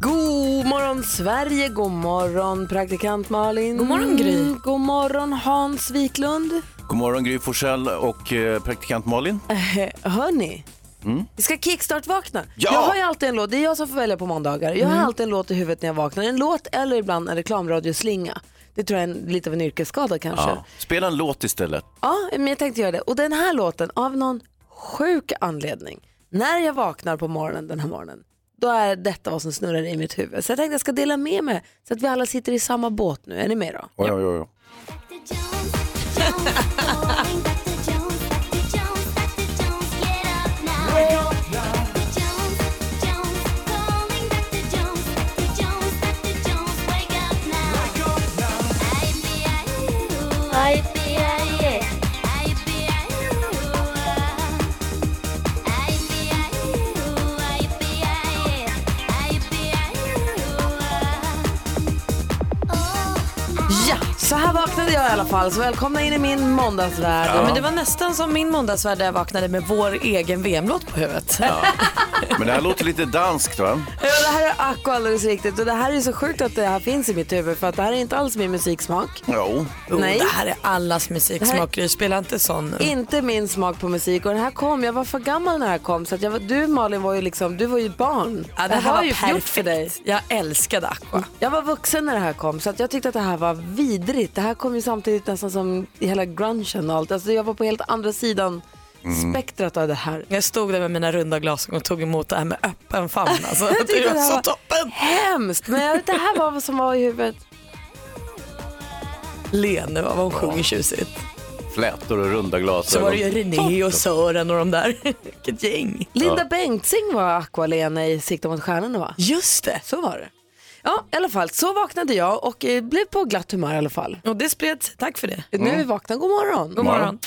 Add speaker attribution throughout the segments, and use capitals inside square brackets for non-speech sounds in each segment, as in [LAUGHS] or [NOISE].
Speaker 1: God morgon Sverige, god morgon praktikant Malin.
Speaker 2: God morgon, Gry.
Speaker 1: God morgon Hans Wiklund.
Speaker 3: God morgon Gry Forssell och eh, praktikant Malin.
Speaker 1: [LAUGHS]
Speaker 3: Mm.
Speaker 1: Hörni, vi ska kickstart-vakna.
Speaker 3: Ja! Mm.
Speaker 1: Jag har ju alltid en låt, det är jag som får välja på måndagar. Jag har alltid en låt i huvudet när jag vaknar. En låt eller ibland en reklamradioslinga. Det tror jag är en, lite av en yrkesskada kanske.
Speaker 3: Ja. Spela en låt istället.
Speaker 1: Ja, men jag tänkte göra det. Och den här låten, av någon sjuk anledning, när jag vaknar på morgonen den här morgonen, då är detta vad som snurrar i mitt huvud. Så jag tänkte jag ska dela med mig så att vi alla sitter i samma båt nu. Är ni med då?
Speaker 3: Oj, oj, oj. oj.
Speaker 1: Ja, så här vaknade jag i alla fall. Så välkomna in i min måndagsvärld.
Speaker 4: Men det var nästan som min måndagsvärld där jag vaknade med vår egen VM-låt på huvudet.
Speaker 1: [LAUGHS]
Speaker 3: Men det här låter lite danskt va?
Speaker 1: Ja, det här är Acko alldeles riktigt. Och det här är så sjukt att det här finns i mitt huvud för att det här är inte alls min musiksmak.
Speaker 3: Jo.
Speaker 4: Jo,
Speaker 1: Nej.
Speaker 4: Det här är allas musiksmak. Du spelar inte sån. nu.
Speaker 1: Inte min smak på musik och den här kom, jag var för gammal när den här kom så att jag var, du Malin var ju liksom, du var ju barn.
Speaker 4: Ja, det
Speaker 1: Det
Speaker 4: här
Speaker 1: har
Speaker 4: var
Speaker 1: ju
Speaker 4: perfekt.
Speaker 1: gjort för dig.
Speaker 4: Jag älskade Aqua.
Speaker 1: Jag var vuxen när det här kom så att jag tyckte att det här var vidrigt. Det här kom ju samtidigt nästan som hela grungen och allt. Alltså jag var på helt andra sidan
Speaker 4: Mm.
Speaker 1: spektrat av
Speaker 4: [LAUGHS]
Speaker 1: det här.
Speaker 4: Jag stod där med mina runda glasögon och tog emot det här med öppen famn. Alltså,
Speaker 1: [LAUGHS] Jag tyckte
Speaker 4: det var
Speaker 1: det här
Speaker 4: så
Speaker 1: var-
Speaker 4: toppen.
Speaker 1: Hemskt! Men jag, det här var vad som var
Speaker 4: [LAUGHS]
Speaker 1: i huvudet.
Speaker 4: Le nu vad hon sjunger tjusigt.
Speaker 3: Flätor och runda
Speaker 4: Så
Speaker 3: glasögon.
Speaker 4: var det ju René och Sören och de där. [LAUGHS] Vilket gäng.
Speaker 1: Linda Bengtzing var Aqualena i Sikta mot stjärnorna va?
Speaker 4: Just det.
Speaker 1: Så var det. Ja, i alla fall. Så vaknade jag och eh, blev på glatt humör i alla fall.
Speaker 4: Och det spred sig. Tack för det.
Speaker 1: Nu är
Speaker 4: [LAUGHS]
Speaker 1: vi vakna. God morgon.
Speaker 4: Mm. God morgon.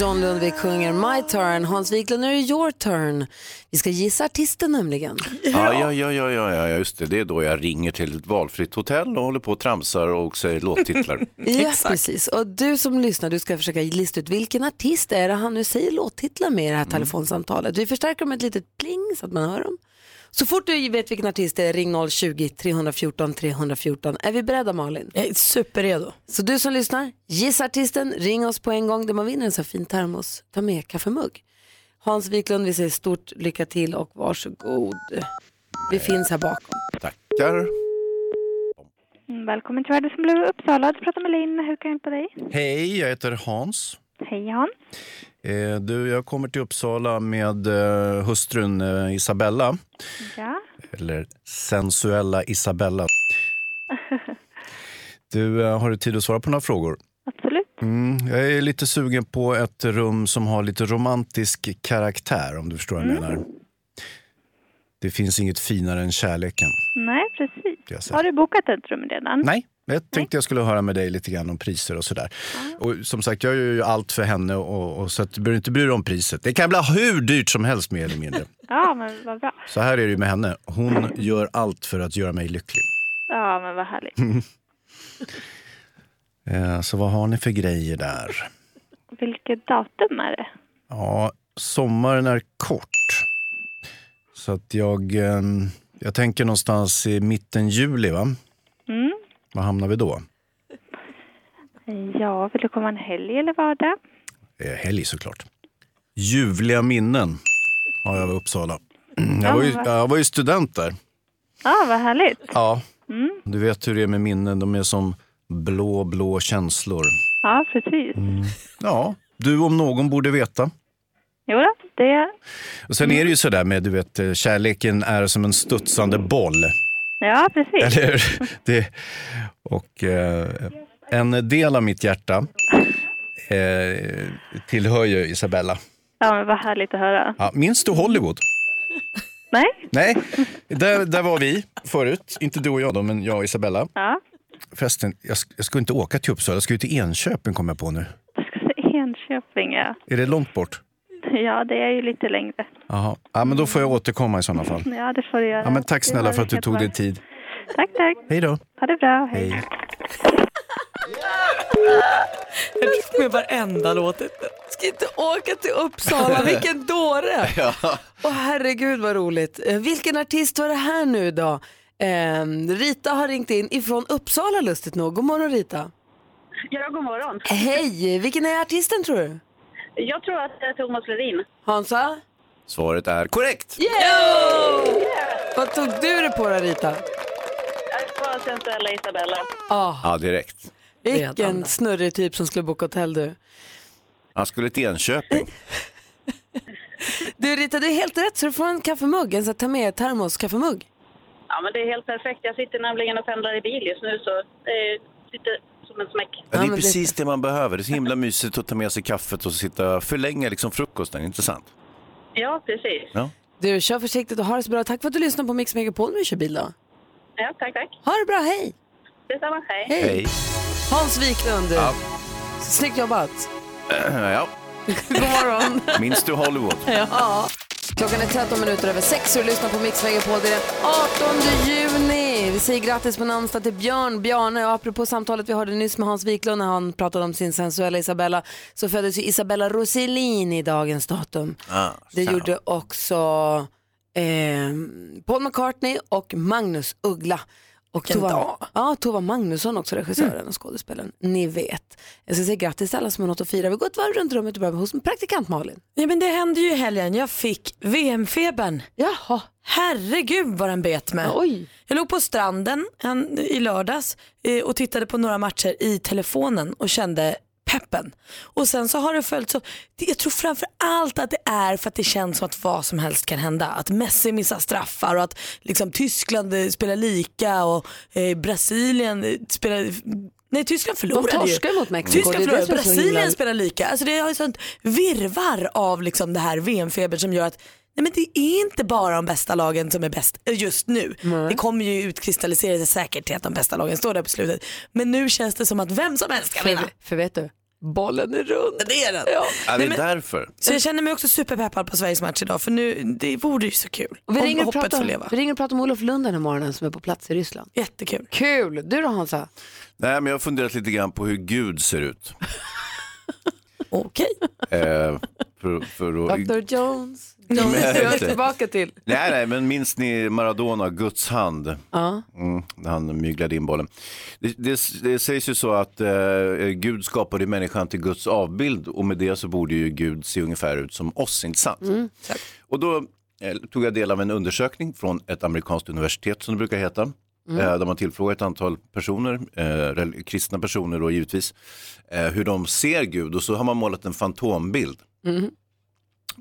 Speaker 1: John Lundvik sjunger My turn. Hans Wiklund, nu är det your turn. Vi ska gissa artisten nämligen.
Speaker 3: Ja, ja, ja, ja, ja, ja, just det. Det är då jag ringer till ett valfritt hotell och håller på och tramsar och säger
Speaker 4: [LAUGHS]
Speaker 3: låttitlar.
Speaker 1: [LAUGHS] Ja,
Speaker 4: Exakt.
Speaker 1: precis. Och du som lyssnar, du ska försöka lista ut vilken artist är det han nu säger låttitlar med i det här telefonsamtalet. Vi förstärker dem med ett litet pling så att man hör dem. Så fort du vet vilken artist det är, ring 020-314 314. Är vi beredda Malin?
Speaker 4: Jag är superredo.
Speaker 1: Så du som lyssnar, gissa artisten, ring oss på en gång. Där man vinner en så här fin termos, ta med kaffemugg. Hans Wiklund, vi säger stort lycka till och varsågod. Vi finns här bakom.
Speaker 3: Tackar.
Speaker 5: Mm, Välkommen till Världens Blå Uppsala. Du pratar med Linn. Hur kan jag hjälpa dig?
Speaker 6: Hej, jag heter Hans.
Speaker 5: Hej Hans.
Speaker 6: Eh, Du, jag kommer till Uppsala med eh, hustrun eh, Isabella.
Speaker 5: Ja.
Speaker 6: Eller sensuella Isabella. Du, eh, har du tid att svara på några frågor?
Speaker 5: Absolut.
Speaker 6: Mm, jag är lite sugen på ett rum som har lite romantisk karaktär, om du förstår vad jag menar. Det finns inget finare än kärleken.
Speaker 5: Nej, precis.
Speaker 6: Det har jag sett.
Speaker 5: Har du bokat ett rum redan?
Speaker 6: Nej, jag tänkte jag skulle höra med dig lite grann om priser och sådär. Och som sagt, jag gör ju allt för henne och, och så att du behöver inte bry dig om priset. Det kan bli hur dyrt som helst mer eller mindre.
Speaker 5: Ja, men vad bra.
Speaker 6: Så här är det ju med henne. Hon gör allt för att göra mig lycklig.
Speaker 5: Ja, men vad härligt.
Speaker 6: Mm. [LAUGHS] Eh, Så vad har ni för grejer där?
Speaker 5: Vilket datum är det?
Speaker 6: Ja, sommaren är kort. Så att jag, eh, jag tänker någonstans i mitten juli, va?
Speaker 5: Mm.
Speaker 6: Var hamnar vi då?
Speaker 5: Ja, vill du komma en helg eller vardag?
Speaker 6: Eh, Helg såklart. Ljuvliga minnen har jag i Uppsala. [CLEARS THROAT] Jag var, ju, jag var ju student där.
Speaker 5: Ja, vad härligt. Mm.
Speaker 6: Ja. Du vet hur det är med minnen, de är som blå, blå känslor.
Speaker 5: Ja, precis.
Speaker 6: Ja, du om någon borde veta.
Speaker 5: Jo då, det...
Speaker 6: Och
Speaker 5: Mm.
Speaker 6: sen är det ju sådär med, du vet, eh, kärleken är som en
Speaker 7: [LAUGHS]
Speaker 6: studsande boll.
Speaker 5: Ja, precis.
Speaker 6: Eller hur? Det, och eh, en del av mitt hjärta eh, tillhör ju Isabella.
Speaker 5: Ja, men vad härligt att höra.
Speaker 6: Ja, minns du Hollywood?
Speaker 5: Nej?
Speaker 6: Nej, där, där var vi förut. Inte du och jag då, men jag och Isabella.
Speaker 5: Ja.
Speaker 7: Förresten, jag, sk- jag ska inte åka till Uppsala, jag ska ju till Enköping kommer jag på nu.
Speaker 5: Jag ska säga Enköping, ja.
Speaker 7: Är det långt bort?
Speaker 5: Ja, det är ju lite längre.
Speaker 7: Jaha. Ja, men då får jag återkomma i sådana fall.
Speaker 5: Ja, det får du göra.
Speaker 7: Ja, men tack
Speaker 5: Det
Speaker 7: snälla
Speaker 5: var
Speaker 7: för att du
Speaker 5: helt
Speaker 7: tog dig
Speaker 5: varmt.
Speaker 7: tid.
Speaker 5: Tack, tack.
Speaker 7: Hej då.
Speaker 5: Ha det bra. Hej.
Speaker 4: Med varenda låt.
Speaker 1: Ska inte åka till [LAUGHS] Uppsala, vilken dåre! Åh herregud vad roligt. Eh, Vilken artist var det här nu då? Ehm, Rita har ringt in ifrån Uppsala lustigt nog. God morgon Rita.
Speaker 8: Ja, god morgon.
Speaker 1: Hej, vilken är artisten tror du?
Speaker 8: Jag tror att det är Thomas Ledin.
Speaker 1: Hansa?
Speaker 6: Svaret är korrekt!
Speaker 1: Vad tog du det på då Rita?
Speaker 8: Jag var sensuella Isabella.
Speaker 6: Ja, direkt.
Speaker 1: Vilken snurrig typ som skulle boka hotell du.
Speaker 6: Han skulle till Enköping.
Speaker 1: Du Rita, du är helt rätt så du får en kaffemugg, en sån här ta med termoskaffemugg.
Speaker 8: Ja, men det är helt perfekt. Jag sitter nämligen och pendlar i bil just nu, så eh, det är lite som en smäck.
Speaker 6: Ja, det
Speaker 1: men
Speaker 6: är
Speaker 1: det-
Speaker 6: precis det man behöver. Det är så himla mysigt att ta med sig kaffet och sitta förlänga liksom frukosten. Intressant.
Speaker 8: Ja, precis.
Speaker 6: Ja.
Speaker 1: Du, kör försiktigt och ha det så bra. Tack för att du lyssnar på Mix Megapol när du kör bil då.
Speaker 8: Ja, tack, tack.
Speaker 1: Ha det bra, hej!
Speaker 8: Detsamma. Hej.
Speaker 6: Hej.
Speaker 1: Hans Wiklund, du. snyggt jobbat.
Speaker 6: [CLEARS THROAT] Ja,
Speaker 1: God morgon.
Speaker 6: minns du Hollywood?
Speaker 1: Klockan är 13 minuter över 6 och du lyssnar på Mix Megapol. Det är den 18 juni. Vi säger grattis på namnsdag till Björn Bjarne. Och apropå samtalet vi hörde nyss med Hans Wiklund när han pratade om sin sensuella Isabella så föddes ju Isabella Rossellini i dagens datum.
Speaker 6: Ah,
Speaker 1: Det
Speaker 6: fan.
Speaker 1: gjorde också eh, Paul McCartney och Magnus Uggla. Och Tova, ja, Tova Magnusson också, regissören och skådespelaren. Ni vet. Jag ska säga grattis till alla som har något att fira. Vi går ett varv runt rummet och börjar med hos praktikant Malin.
Speaker 4: Ja, men det hände ju i helgen. Jag fick VM-febern.
Speaker 1: Jaha.
Speaker 4: Herregud vad den bet mig.
Speaker 1: Oj.
Speaker 4: Jag låg på stranden en, i lördags eh, och tittade på några matcher i telefonen och kände peppen. Och sen så har det följt så, det- jag tror framför allt att det är för att det känns som att vad som helst kan hända. Att Messi missar straffar och att liksom Tyskland eh, spelar lika och eh, Brasilien eh, spelar, nej Tyskland förlorade ju.
Speaker 1: torskar mot Mexiko, det är
Speaker 4: Tyskland
Speaker 1: det
Speaker 4: förlorade,
Speaker 1: som är så himla-
Speaker 4: Brasilien spelar lika. Alltså det har ju sånt virvar av liksom det här VM-febern som gör att nej men det är inte bara de bästa lagen som är bäst eh, just nu. Det kommer ju utkristallisera sig säkert till att de bästa lagen står där på slutet. Men nu känns det som att vem som helst kan vinna.
Speaker 1: För, för vet du, bollen är rund.
Speaker 4: Det är den.
Speaker 6: Ja, det är därför.
Speaker 4: Så jag känner mig också superpeppad på Sveriges match idag för nu, det vore ju så kul.
Speaker 1: Och vi,
Speaker 4: om
Speaker 1: ringer och
Speaker 4: hoppet
Speaker 1: pratar,
Speaker 4: får
Speaker 1: om-
Speaker 4: leva.
Speaker 1: vi ringer och pratar med Olof Lund den här morgonen som är på plats i Ryssland.
Speaker 4: Jättekul.
Speaker 1: Kul! Du då Hansa?
Speaker 6: Nej, men jag har funderat lite grann på hur Gud ser ut.
Speaker 4: Okej.
Speaker 6: Eh, för, för att...
Speaker 1: Dr [LAUGHS] Jones.
Speaker 6: Men-
Speaker 1: Jag är tillbaka till.
Speaker 6: Nej, nej, men minns ni Maradona, Guds hand?
Speaker 1: Ja.
Speaker 6: Mm, när han myglade in bollen. Det, det, det sägs ju så att eh, Gud skapade människan till Guds avbild och med det så borde ju Gud se ungefär ut som oss, inte sant? och då eh, tog jag del av en undersökning från ett amerikanskt universitet som det brukar heta. Eh, de har tillfrågat ett antal personer, eh, rel- kristna personer då givetvis, eh, hur de ser Gud och så har man målat en fantombild.
Speaker 1: mm.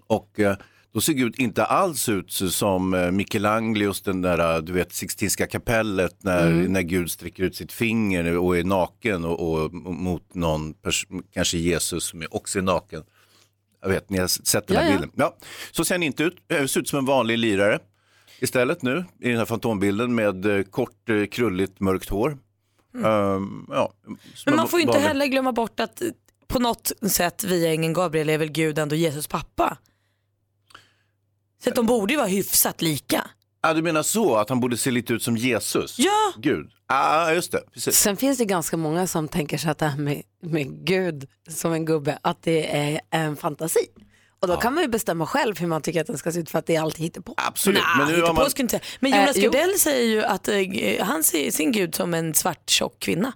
Speaker 6: Och eh, då ser Gud inte alls ut som eh, Michelangelos, den där eh, du vet Sixtinska kapellet när,
Speaker 4: Mm.
Speaker 6: när Gud sträcker ut sitt finger och är naken och, och mot någon, pers- kanske Jesus som är också är naken. Jag vet, ni har s- sett den här
Speaker 1: Ja, ja.
Speaker 6: bilden. Ja, så ser han inte ut, Eh, ser ut som en vanlig lirare. Istället nu i den här fantombilden med eh, kort, eh, krulligt, mörkt hår. Ehm, ja, som
Speaker 4: Mm. Men
Speaker 6: en
Speaker 4: man får ju inte
Speaker 6: vanlig-
Speaker 4: heller glömma bort att eh, på något sätt via ängeln Gabriel är väl Gud ändå Jesus pappa. Så att de borde ju vara hyfsat lika.
Speaker 6: Ja, du menar så, att han borde se lite ut som Jesus?
Speaker 4: Ja.
Speaker 6: Gud, ja ah, just det. Precis.
Speaker 1: Sen finns det ganska många som tänker sig att det här med, med Gud som en gubbe, att det är en fantasi. Och då kan man ju bestämma själv hur man tycker att den ska se ut för att det är allt hittepå.
Speaker 6: Absolut, men nu
Speaker 4: inte
Speaker 6: har man...
Speaker 4: på, skulle inte. säga. Men
Speaker 1: Eh,
Speaker 4: Jonas
Speaker 1: jo.
Speaker 4: Gardell säger ju att eh, han ser sin gud som en svart tjock kvinna.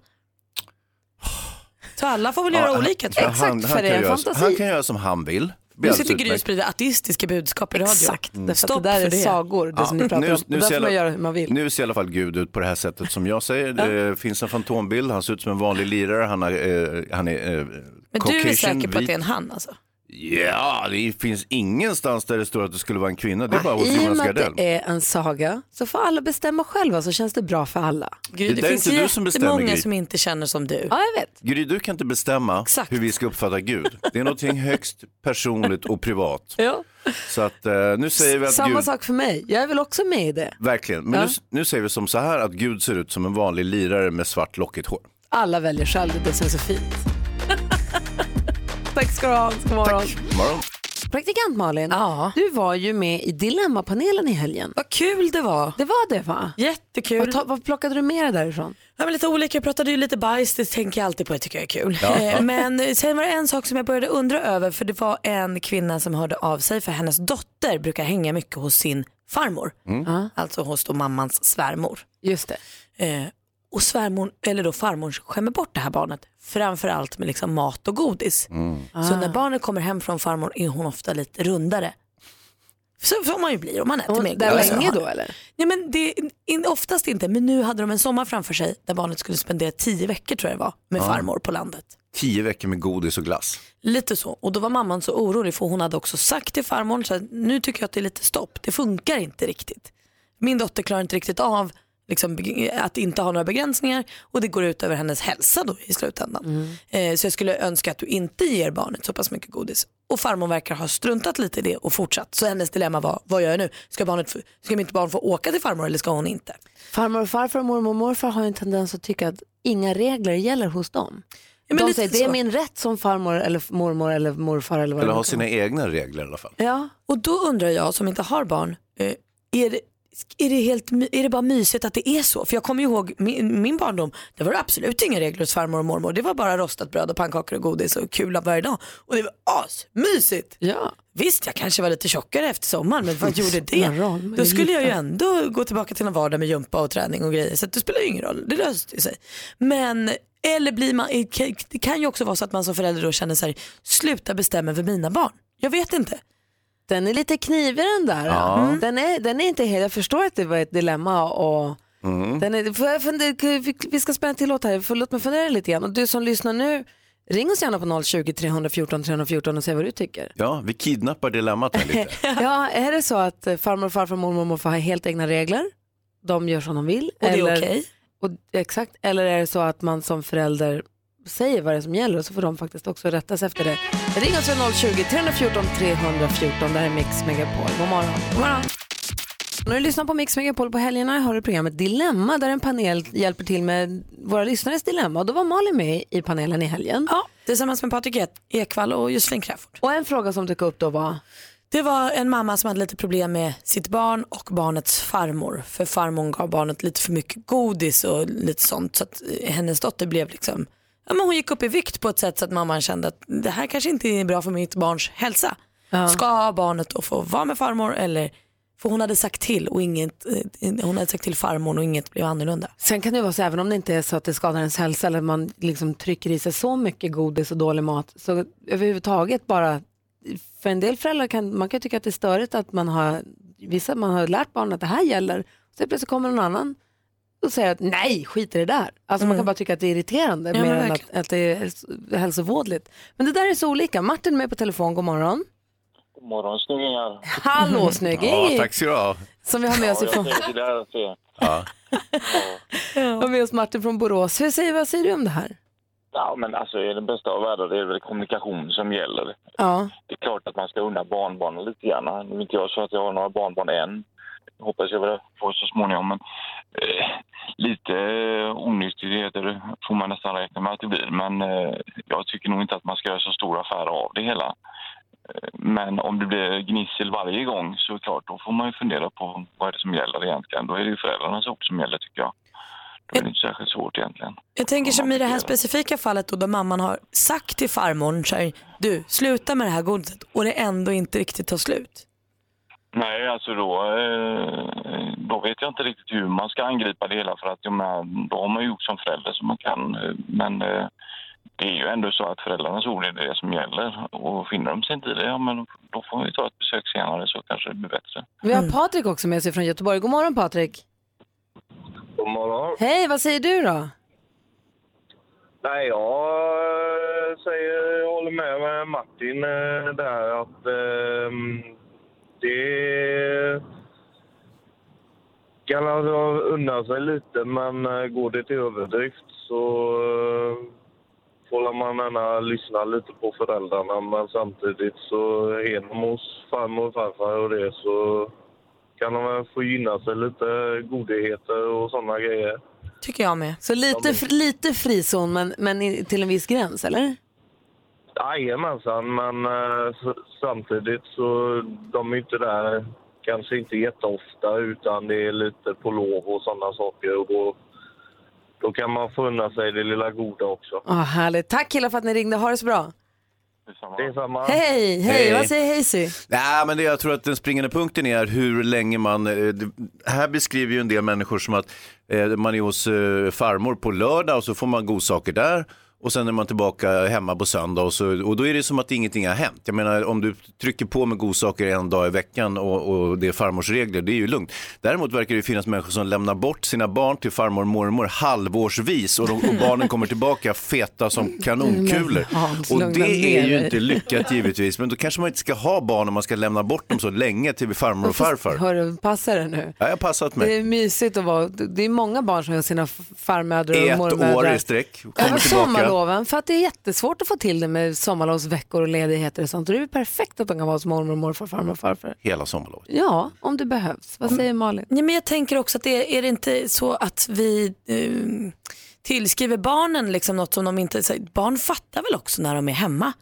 Speaker 4: Så alla får väl göra
Speaker 6: Ja,
Speaker 4: olika tror jag.
Speaker 1: Exakt, för det är en
Speaker 6: göra,
Speaker 1: fantasi.
Speaker 6: Han kan göra som han vill. Det är
Speaker 4: Nu
Speaker 6: alldeles
Speaker 4: sitter Gry och
Speaker 6: utmärkt.
Speaker 4: sprider ateistiska budskap i radio.
Speaker 1: Exakt, därför att
Speaker 4: Stopp
Speaker 1: Mm. det där
Speaker 4: för
Speaker 1: är
Speaker 4: det.
Speaker 1: sagor, det som ni pratar om. Nu, där
Speaker 6: ser
Speaker 1: får man
Speaker 6: alla-
Speaker 1: göra hur man vill.
Speaker 6: Nu ser i alla fall Gud ut på det här sättet som jag säger. Det finns en fantombild, han ser ut som en vanlig lirare, han, har, eh, han är eh,
Speaker 4: Men du är säker på att det är en han alltså?
Speaker 6: Ja, det finns ingenstans där det står att det skulle vara en kvinna, det är bara hos
Speaker 1: Ah, I och
Speaker 6: Jonas
Speaker 1: med att
Speaker 6: Gardell.
Speaker 1: det är en saga så får alla bestämma själva så känns det bra för alla.
Speaker 4: Gry,
Speaker 6: Det
Speaker 4: det,
Speaker 6: där är
Speaker 4: finns
Speaker 6: inte du som bestämmer,
Speaker 4: jättemånga
Speaker 6: Gry.
Speaker 4: som inte känner som du.
Speaker 1: Ja, jag vet.
Speaker 6: Gry, du kan inte bestämma
Speaker 4: Exakt.
Speaker 6: hur vi ska uppfatta Gud. Det är någonting högst personligt och privat.
Speaker 1: Ja.
Speaker 6: Så att eh, nu säger vi att
Speaker 1: Samma
Speaker 6: Gud...
Speaker 1: sak för mig. Jag är väl också med i det.
Speaker 6: Verkligen. Men
Speaker 1: Ja.
Speaker 6: nu, nu säger vi som så här att Gud ser ut som en vanlig lirare med svart lockigt hår.
Speaker 1: Alla väljer själv det är det som är
Speaker 4: [LAUGHS]
Speaker 1: så fint. Tack ska du ha. God morgon.
Speaker 6: Morgon.
Speaker 1: Praktikant Malin, du var ju med i Dilemmapanelen i helgen.
Speaker 4: Vad kul det var.
Speaker 1: Det var det va?
Speaker 4: Jättekul.
Speaker 1: Vad, ta- vad plockade du med dig därifrån?
Speaker 4: Ja, men lite olika, jag pratade ju lite bajs, det tänker jag alltid på, det tycker jag är kul.
Speaker 1: Ja.
Speaker 4: Eh, Men eh, sen var det en sak som jag började undra över för det var en kvinna som hörde av sig för hennes dotter brukar hänga mycket hos sin farmor.
Speaker 6: Mm.
Speaker 4: Alltså hos då mammans svärmor.
Speaker 1: Just
Speaker 4: det. Eh, och svärmor, eller då farmor skämmer bort det här barnet, framförallt med liksom mat och godis.
Speaker 6: Mm.
Speaker 4: Så
Speaker 1: Ah.
Speaker 4: när barnet kommer hem från farmor är hon ofta lite rundare. Så, som man ju blir om man äter
Speaker 1: Och
Speaker 4: mer
Speaker 1: där
Speaker 4: godis.
Speaker 1: länge då, eller?
Speaker 4: Nej men det, in, oftast inte, men nu hade de en sommar framför sig där barnet skulle spendera tio veckor tror jag det var med
Speaker 6: Ja.
Speaker 4: farmor på landet.
Speaker 6: Tio veckor med godis och glass.
Speaker 4: Lite så. Och då var mamman så orolig för hon hade också sagt till farmor så här, nu tycker jag att det är lite stopp, det funkar inte riktigt. Min dotter klarar inte riktigt av liksom, beg- att inte ha några begränsningar och det går ut över hennes hälsa då i slutändan.
Speaker 1: Mm.
Speaker 4: Eh, så jag skulle önska att du inte ger barnet så pass mycket godis. Och farmor verkar ha struntat lite i det och fortsatt. Så hennes dilemma var, vad gör jag nu? Ska, barnet, få- ska mitt barn få åka till farmor eller ska hon inte?
Speaker 1: Farmor och farfar och mormor och morfar har ju en tendens att tycka att inga regler gäller hos dem.
Speaker 4: Ja, men
Speaker 1: De
Speaker 4: lite
Speaker 1: säger det är
Speaker 4: så."
Speaker 1: min rätt som farmor eller mormor eller morfar eller vad
Speaker 6: Eller
Speaker 1: det
Speaker 6: ha
Speaker 1: nu kan
Speaker 6: sina egna regler i alla fall.
Speaker 1: Ja.
Speaker 4: Och då undrar jag som inte har barn, eh, är det, är, det helt, my- är det bara mysigt att det är så? För jag kommer ju ihåg min, min barndom, det var det absolut inga regler hos farmor och mormor. Det var bara rostat bröd och pannkakor och godis och kul av varje dag. Och det var asmysigt.
Speaker 1: Ja.
Speaker 4: Visst, jag kanske var lite tjockare efter sommaren, men vad gjorde det?
Speaker 1: Spelar roll, men det
Speaker 4: Då
Speaker 1: är
Speaker 4: skulle jag ju
Speaker 1: lite.
Speaker 4: ändå gå tillbaka till en vardag med gympa och träning och grejer. Så att det spelar ju ingen roll, det löste ju sig. Men, eller blir man, det kan ju också vara så att man som förälder då känner så här, sluta bestämma över mina barn. Jag vet inte.
Speaker 1: Den är lite knivig den där.
Speaker 4: Ja. Mm.
Speaker 1: Den, är, den är inte helt, jag förstår att det var ett dilemma och
Speaker 4: Mm.
Speaker 1: den är, får jag fundera, vi- vi ska spela en till låt här, Får- låt mig fundera lite grann. Och du som lyssnar nu, ring oss gärna på 020 314 314 och säg vad
Speaker 4: [LAUGHS]
Speaker 1: du tycker.
Speaker 6: Ja, vi kidnappar dilemmat här lite.
Speaker 1: ja, är det så att eh, farmor, farfar, mormor och morfar har helt egna regler? De gör som de vill.
Speaker 4: Och det är
Speaker 1: eller-
Speaker 4: okej.
Speaker 1: och- Exakt, eller är det så att man som förälder säger vad det är som gäller och så får de faktiskt också rätta sig efter det. Ring oss vid 020 314 314, det här är Mix Megapol. God morgon. God morgon. När du lyssnar på Mix Megapol på helgerna har du programmet Dilemma där en panel hjälper till med våra lyssnares dilemma. Och då var Malin med i panelen i helgen.
Speaker 4: Ja, tillsammans med Patrik E- Ekwall och Josefin Crafoord.
Speaker 1: Och en fråga som dök upp då var?
Speaker 4: Det var en mamma som hade lite problem med sitt barn och barnets farmor. För farmor gav barnet lite för mycket godis och lite sånt. Så att eh, hennes dotter blev liksom, ja men hon gick upp i vikt på ett sätt så att mamman kände att det här kanske inte är bra för mitt barns hälsa.
Speaker 1: Ja.
Speaker 4: Ska barnet då få vara med farmor eller, för hon hade sagt till och inget, eh, hon hade sagt till farmor och inget blev annorlunda.
Speaker 1: Sen kan det ju vara så även om det inte är så att det skadar ens hälsa eller man liksom trycker i sig så mycket godis och dålig mat så överhuvudtaget bara för en del föräldrar kan man kan ju tycka att det är störigt att man har vissa man har lärt barnen att det här gäller så plötsligt kommer någon annan och säger att nej skit i det där. Alltså man kan bara tycka att det är irriterande
Speaker 4: Mm. Ja, men
Speaker 1: mer än att,
Speaker 4: verkligen.
Speaker 1: att det är häls- hälsovådligt. Men det där är så olika. Martin är med på telefon, god morgon.
Speaker 9: God morgon snyggingar.
Speaker 1: Hallå snygging!
Speaker 9: Ja,
Speaker 6: Tack ska du ha.
Speaker 1: Som vi har med oss
Speaker 9: ja,
Speaker 1: ifrån.
Speaker 9: jag tänkte det här att se.
Speaker 6: Ja.
Speaker 1: Har med oss Martin från Borås. Hur säger, vad säger du om det här?
Speaker 9: Ja, men alltså i den bästa av världar det är väl kommunikation som gäller.
Speaker 1: Ja.
Speaker 9: Det är klart att man ska unna barnbarnen lite grann. Nu är inte jag så att jag har några barnbarn än. Hoppas jag väl får så småningom, men eh, lite eh, onyttigheter får man nästan räkna med att det blir. Men eh, jag tycker nog inte att man ska göra så stor affär av det hela. Eh, Men om det blir gnissel varje gång så är det klart, då får man ju fundera på vad är det som gäller egentligen. Då är det ju föräldrarnas ord som gäller tycker jag. Då är det inte särskilt svårt egentligen.
Speaker 4: Jag tänker som i det här specifika fallet då, där mamman har sagt till farmor så här, du sluta med det här godiset och det ändå inte riktigt tar slut.
Speaker 9: Nej, alltså då, eh, då vet jag inte riktigt hur man ska angripa det hela för att jag menar, då har man ju gjort som förälder som man kan. eh, Men eh, det är ju ändå så att föräldrarnas ord är det som gäller och finner de sig inte i det, ja men då får vi ta ett besök senare så kanske det blir bättre.
Speaker 1: Vi
Speaker 4: Mm.
Speaker 1: har Patrik också med sig från Göteborg. God morgon Patrik.
Speaker 10: God morgon.
Speaker 1: Hej, vad säger du då?
Speaker 10: Nej, jag eh, säger, jag håller med, med Martin eh, där att eh, det kan alltså unna sig lite men eh, går det till överdrift så eh, får man gärna lyssna lite på föräldrarna men samtidigt så är de hos farmor och farfar och det så kan de väl få gynna sig lite godheter och sådana grejer.
Speaker 4: Tycker jag med.
Speaker 1: Så lite, fr- lite frizon men, men i- till en viss gräns eller?
Speaker 10: Jajamensan, men eh, s- samtidigt så de är inte där kanske inte jätteofta utan det är lite på lov och sådana saker. Och då, då kan man få unna sig det lilla goda också.
Speaker 1: Oh, härligt. Tack killar för att ni ringde, ha det så bra.
Speaker 10: Detsamma.
Speaker 1: Hej, hej,
Speaker 6: Hej.
Speaker 1: vad säger Hazy?
Speaker 6: Nej, men det jag tror att den springande punkten är hur länge man... eh, det- Här beskriver ju en del människor som att eh, man är hos eh, farmor på lördag och så får man godsaker där. Och sen är man tillbaka hemma på söndag och, så, och då är det som att ingenting har hänt. Jag menar om du trycker på med godsaker en dag i veckan och, och det är farmors regler, det är ju lugnt. Däremot verkar det ju finnas människor som lämnar bort sina barn till farmor och mormor halvårsvis och, de, och barnen kommer tillbaka feta som kanonkulor.
Speaker 11: Men Mm, Hans,
Speaker 6: Och
Speaker 11: lugna
Speaker 6: det är
Speaker 11: ner
Speaker 6: ju
Speaker 11: dig.
Speaker 6: inte lyckat givetvis, men då kanske man inte ska ha barn om man ska lämna bort dem så länge till farmor och farfar.
Speaker 1: Hörru, passa det nu.
Speaker 6: Ja, jag har passat
Speaker 1: Det
Speaker 6: mig.
Speaker 1: är mysigt att vara, det är många barn som har sina f- farmödrar och
Speaker 6: Ett år
Speaker 1: mormödrar.
Speaker 6: i sträck, kommer
Speaker 1: Över
Speaker 6: tillbaka.
Speaker 1: sommarloven, för att det är jättesvårt att få till det med sommarlovsveckor och ledigheter och sånt. Och det är ju perfekt att de kan vara hos mormor och morfar, farmor Mm. och farfar.
Speaker 6: Hela sommarlovet.
Speaker 1: Ja, om det behövs. Vad säger Malin?
Speaker 4: Nej, men jag tänker också att det är, är det inte så att vi eh, tillskriver barnen liksom något som de inte... Så, barn fattar väl också när de är hemma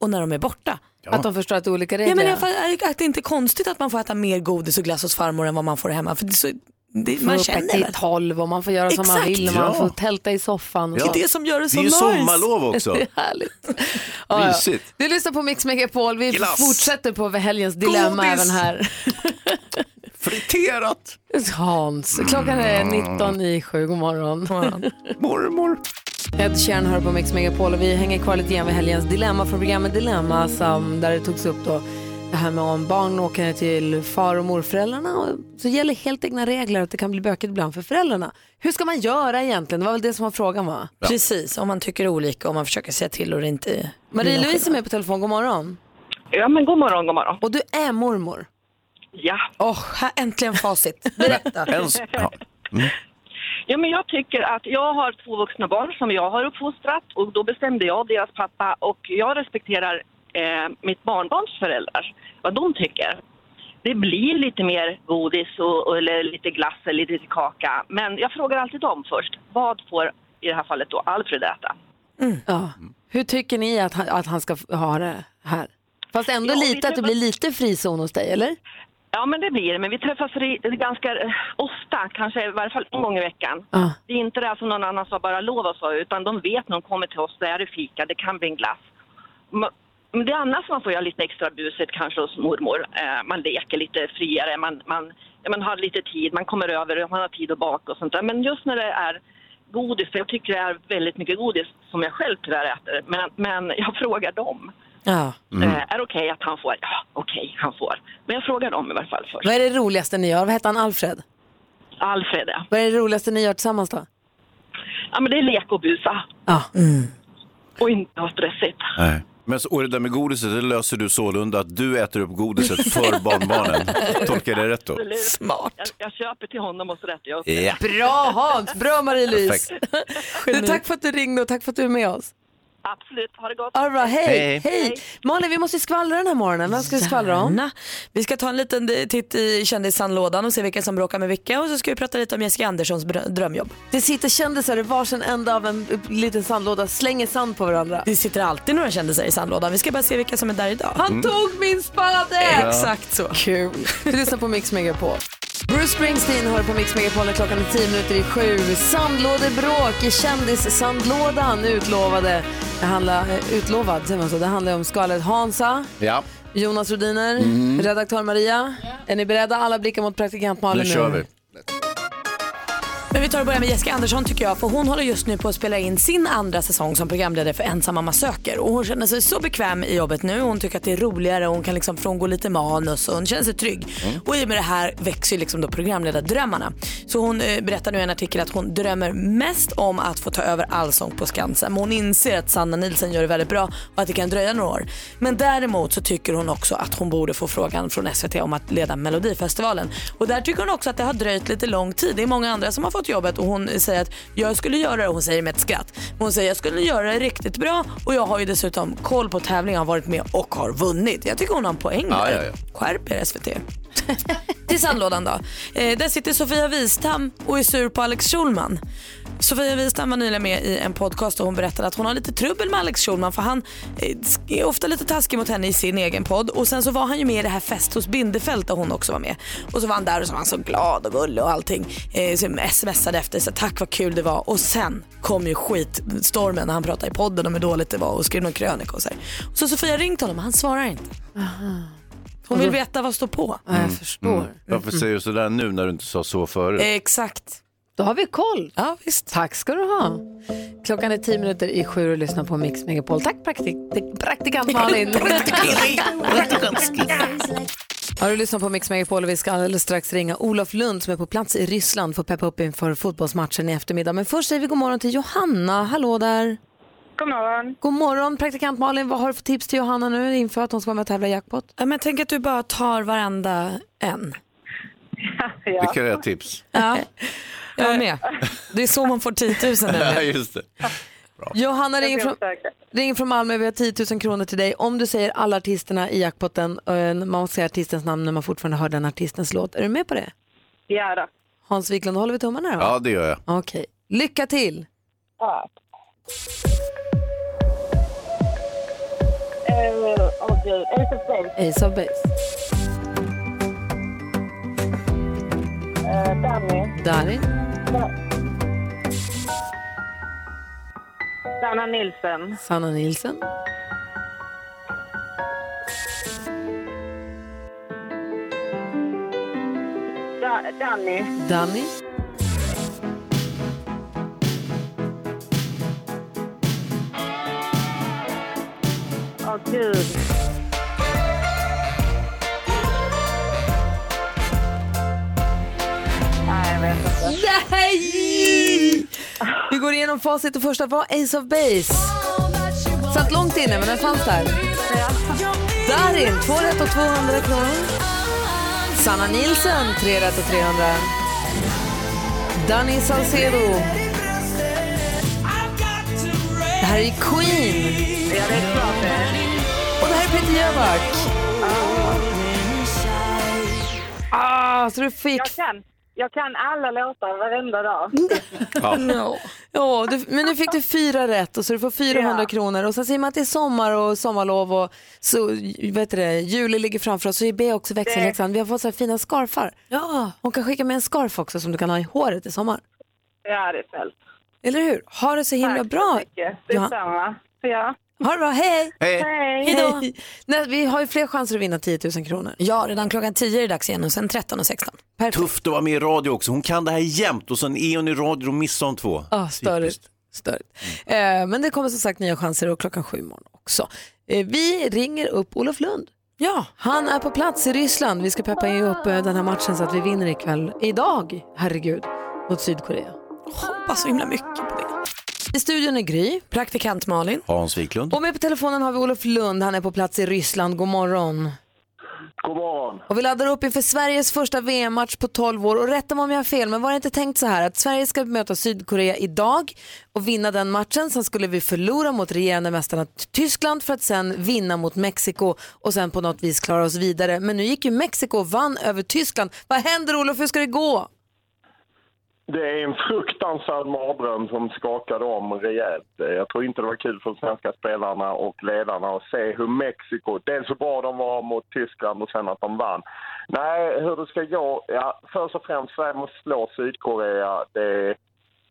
Speaker 4: och när de är borta.
Speaker 1: Att de förstår att det är olika regler.
Speaker 4: Ja, men jag, fa- att det är inte konstigt att man får äta mer godis och glass hos farmor än vad man får hemma. För det, är så, det,
Speaker 1: Får
Speaker 4: man
Speaker 1: upp ett
Speaker 4: känner
Speaker 1: till
Speaker 4: väl.
Speaker 1: tolv och man får göra som man
Speaker 4: Exakt.
Speaker 1: vill och man
Speaker 4: Ja.
Speaker 1: får tälta i soffan. och
Speaker 4: Det är
Speaker 1: sånt.
Speaker 4: det som gör det så
Speaker 6: Det är ju
Speaker 4: nice.
Speaker 6: sommarlov också.
Speaker 1: [LAUGHS] Det är
Speaker 6: [LAUGHS]
Speaker 1: härligt. Ja, ja.
Speaker 6: Mysigt.
Speaker 1: Du lyssnar på Mix Megapol. Vi
Speaker 6: Glass.
Speaker 1: fortsätter på över helgens dilemma
Speaker 6: Godis.
Speaker 1: även här.
Speaker 6: Friterat.
Speaker 1: Hans, klockan är
Speaker 6: Mm.
Speaker 1: 19 i sju. God morgon.
Speaker 6: Mormor.
Speaker 1: Ed Sheeran hör på Mix Megapol och vi hänger kvar lite grann vid helgens dilemma från programmet Dilemma som, där det togs upp då det här med om barn åker ner till far och morföräldrarna och så gäller helt egna regler att det kan bli bökigt ibland för föräldrarna. Hur ska man göra egentligen? Det var väl det som var frågan va?
Speaker 4: Ja. Precis, om man tycker olika, om man försöker säga till och det inte...
Speaker 1: Marie-Louise är med på telefon, god morgon.
Speaker 2: Ja men god morgon, god morgon.
Speaker 1: Och du är mormor?
Speaker 2: Ja.
Speaker 1: Åh,
Speaker 4: här äntligen
Speaker 2: [LAUGHS]
Speaker 4: facit.
Speaker 1: Berätta.
Speaker 6: Mm.
Speaker 2: Ja, men jag tycker att jag har två vuxna barn som jag har uppfostrat och då bestämde jag deras pappa och jag respekterar eh, mitt barnbarns föräldrar, vad de tycker. Det blir lite mer godis och, och, eller lite glass eller lite kaka, men jag frågar alltid dem först. Vad får i det här fallet då Alfred äta?
Speaker 1: Mm. Ja. Hur tycker ni att han, att han ska f- ha det här? Fast ändå
Speaker 2: Ja, vi
Speaker 1: lite att det
Speaker 2: träffas-
Speaker 1: blir lite frizon hos dig, eller?
Speaker 2: Ja, men det blir det. Men vi träffas ri- ganska eh, ofta, kanske i varje fall en gång i veckan.
Speaker 1: Ja.
Speaker 2: Det är inte det här som någon annan sa, bara lov och så, utan de vet när de kommer till oss, det är det fika, det kan bli en glass. Ma- Men det är annars man får göra lite extra buset kanske hos mormor. Eh, man leker lite friare, man, man, ja, man har lite tid, man kommer över, man har tid att baka och sånt där. Men just när det är godis, för jag tycker det är väldigt mycket godis som jag själv tyvärr äter, men, men jag [LAUGHS] frågar dem.
Speaker 4: Ja.
Speaker 12: Mm.
Speaker 2: Eh,
Speaker 1: Mm.
Speaker 2: är det okej att han får? Ja, okej, han får. Men jag frågar dem i varje fall först.
Speaker 1: Vad är det roligaste ni gör? Vad heter han, Alfred?
Speaker 2: Alfred, ja.
Speaker 1: Vad är det roligaste ni gör tillsammans då?
Speaker 2: ja men det är lek och busa.
Speaker 1: Ja.
Speaker 2: Och inte ha stressigt.
Speaker 6: Nej. Men så, och det där med godiset, det löser du sålunda att du äter upp godiset
Speaker 1: [LAUGHS]
Speaker 6: för barnbarnen. Tolkar jag det rätt då?
Speaker 2: Absolut.
Speaker 4: Smart.
Speaker 2: Jag, jag köper till honom och så rättar jag upp
Speaker 6: Ja.
Speaker 1: Bra Hans, bra Marie-Louise.
Speaker 2: Perfekt.
Speaker 1: Du, tack för att du ringde och tack för att du är med oss.
Speaker 2: Absolut, ha det gott.
Speaker 1: All right, hej. hej.
Speaker 4: Hej.
Speaker 1: Malin, vi måste ju skvallra den här morgonen. Vem ska vi skvallra om?
Speaker 4: Gärna. Vi ska ta en liten titt i kändissandlådan och se vilka som bråkar med vilka och så ska vi prata lite om Jessica Anderssons br- drömjobb.
Speaker 1: Det sitter kändisar i varsin ända av en upp- liten sandlåda, slänger sand på varandra.
Speaker 4: Det sitter alltid några kändisar i sandlådan. Vi ska bara se vilka som är där idag.
Speaker 1: Han
Speaker 6: Mm.
Speaker 1: tog min spade!
Speaker 4: Ja. Exakt så.
Speaker 1: Kul. Du lyssnar på Mix Megapol. Bruce Springsteen hör på Mix Megapol när klockan är 10 minuter i sju. Sandlådebråk i kändissandlådan utlovade. Det handlar, eh, utlovad, säger man så. Det handlar om skalet Hansa.
Speaker 6: Ja,
Speaker 1: Jonas Rhodiner,
Speaker 6: Mm.
Speaker 1: redaktör Maria. Är ni beredda? Alla blickar mot praktikant Malin
Speaker 6: nu kör vi.
Speaker 4: Men vi tar och börjar med Jessica Andersson tycker jag för hon håller just nu på att spela in sin andra säsong som programledare för Ensam mamma söker och hon känner sig så bekväm i jobbet nu. Hon tycker att det är roligare och hon kan liksom frångå lite manus och hon känner sig trygg. Och i och med det här växer ju liksom då programledardrömmarna. Så hon eh, berättar nu i en artikel att hon drömmer mest om att få ta över Allsång på Skansen. Men hon inser att Sanna Nilsson gör det väldigt bra och att det kan dröja några år. Men däremot så tycker hon också att hon borde få frågan från SVT om att leda Melodifestivalen. Och där tycker hon också att det har dröjt lite lång tid. Det är många andra som har fått till jobbet och hon säger att jag skulle göra det, hon säger med ett skratt, men hon säger jag skulle göra det riktigt bra och jag har ju dessutom koll på tävlingar, har varit med och har vunnit. Jag tycker hon har en poäng
Speaker 6: Ja,
Speaker 4: där.
Speaker 6: ja, ja.
Speaker 4: Skärp er SVT. till sandlådan då. Eh, där sitter Sofia Wistam och är sur på Alex Schulman. Sofia Wistam var nyligen med i en podcast och hon berättade att hon har lite trubbel med Alex Schulman för han eh, är ofta lite taskig mot henne i sin egen podd. Och sen så var han ju med i det här Fest hos Bindefeld där hon också var med. Och så var han där och så var han så glad och gullig och allting. Eh, så smsade efter så tack vad kul det var. Och sen kom ju skitstormen när han pratade i podden om hur dåligt det var och skrev någon krönika och så här. Så Sofia har ringt honom men han svarar inte. Hon vill veta vad står på.
Speaker 6: Mm, mm. Varför säger du sådär nu när du inte sa så förut?
Speaker 1: Eh,
Speaker 4: Exakt.
Speaker 1: Då har vi koll.
Speaker 4: Ja, visst.
Speaker 1: Tack ska du ha. Klockan är tio minuter i sju och lyssnar på Mix Megapol. Tack praktik praktikant Malin. Har du lyssnat på Mix Megapol och vi ska alldeles strax ringa Olof Lund som är på plats i Ryssland för att peppa upp inför fotbollsmatchen i eftermiddag. Men först säger vi god morgon till Johanna. Hallå där.
Speaker 8: God morgon.
Speaker 1: God morgon praktikant Malin. Vad har du för tips till Johanna nu inför att hon ska vara med och tävla i jackpot?
Speaker 4: Ja, men tänk att du bara tar varenda en.
Speaker 6: Vilka är tips?
Speaker 4: Ja. [LAUGHS] Jag är med. Det är så man får 10 000
Speaker 6: [LAUGHS] Ja,
Speaker 4: nämligen.
Speaker 6: just det.
Speaker 1: Johanna
Speaker 4: Jag
Speaker 1: ringer
Speaker 4: ber
Speaker 1: från,
Speaker 4: om
Speaker 1: ringer från Malmö. Vi har 10 000 kronor till dig. Om du säger alla artisterna i jackpotten, eh, man säger artistens namn när man fortfarande hör den artistens låt. Är du med på det?
Speaker 8: Ja, då.
Speaker 1: Hans Wiklund, håller vi tummarna då?
Speaker 6: Ja, det gör jag.
Speaker 1: Okej. Lycka till!
Speaker 8: Ja. Eh, Åh gud, Ace of Base.
Speaker 1: Ace of Base.
Speaker 8: Eh, Danny.
Speaker 1: Darin.
Speaker 8: Da- Sanna Nilsson.
Speaker 1: Sanna Nilsson.
Speaker 8: Da- Danny.
Speaker 1: Danny.
Speaker 8: Åh gud. Nej, jag vet inte.
Speaker 1: Nej! [LAUGHS] Vi går igenom facit. Det första var Ace of Base. Satt långt inne, men den fanns där. Darin, två rätt och 200 kronor. Sanna Nilsson, tre rätt och 300. Danny Saucedo. Det här är ju Queen. Och det här är Peter Jöback. Ah, så du fick...
Speaker 8: Jag kan, jag kan alla låtar varenda
Speaker 1: [LAUGHS]
Speaker 8: dag. [LAUGHS]
Speaker 1: Ja. du, men nu fick du fyra rätt och så du får 400 kronor och sen säger man att det är sommar och sommarlov och så, vet du det, juli ligger framför oss. Så be också växelhäxan, vi har fått så här fina scarfar. Ja. Hon kan skicka med en scarf också som du kan ha i håret i sommar.
Speaker 8: Ja, det är snällt.
Speaker 1: Eller hur? Ha det så himla
Speaker 8: Tack så
Speaker 1: bra.
Speaker 8: mycket.
Speaker 1: Johan.
Speaker 8: Detsamma. Ja.
Speaker 1: Ha det bra, hej!
Speaker 6: Hej!
Speaker 8: Hej.
Speaker 1: Hej. Nej, vi har ju fler chanser att vinna 10 000 kronor.
Speaker 4: Ja, redan klockan 10 är det dags igen och sen 13 och 16.
Speaker 6: Tufft att vara med i radio också. Hon kan det här jämt och sen är hon i radio och missar hon två.
Speaker 1: Ja, störigt. störigt. Eh, men det kommer som sagt nya chanser och klockan sju imorgon också. Eh, vi ringer upp Olof Lund.
Speaker 4: Ja,
Speaker 1: han är på plats i Ryssland. Vi ska peppa ju upp eh, den här matchen så att vi vinner ikväll, idag, herregud, mot Sydkorea.
Speaker 4: Hoppas så himla mycket på
Speaker 1: det. I studion är Gry.
Speaker 4: Praktikant Malin.
Speaker 6: Hans Wiklund.
Speaker 1: Och med på telefonen har vi Olof Lund. Han är på plats i Ryssland. God morgon.
Speaker 11: God morgon.
Speaker 1: Och vi laddar upp inför Sveriges första VM-match på 12 år. Och rätta mig om jag har fel, men var det inte tänkt så här att Sverige ska möta Sydkorea idag och vinna den matchen. Sen skulle vi förlora mot regerande mästarna Tyskland för att sen vinna mot Mexiko och sen på något vis klara oss vidare. Men nu gick ju Mexiko och vann över Tyskland. Vad händer Olof? Hur ska det gå?
Speaker 11: Det är en fruktansvärd mardröm som skakade om rejält. Eh, Jag tror inte det var kul för de svenska spelarna och ledarna att se hur Mexiko, dels hur bra de var mot Tyskland och sen att de vann. Nej, hur det ska gå? Ja, först och främst, Sverige måste slå Sydkorea. Det,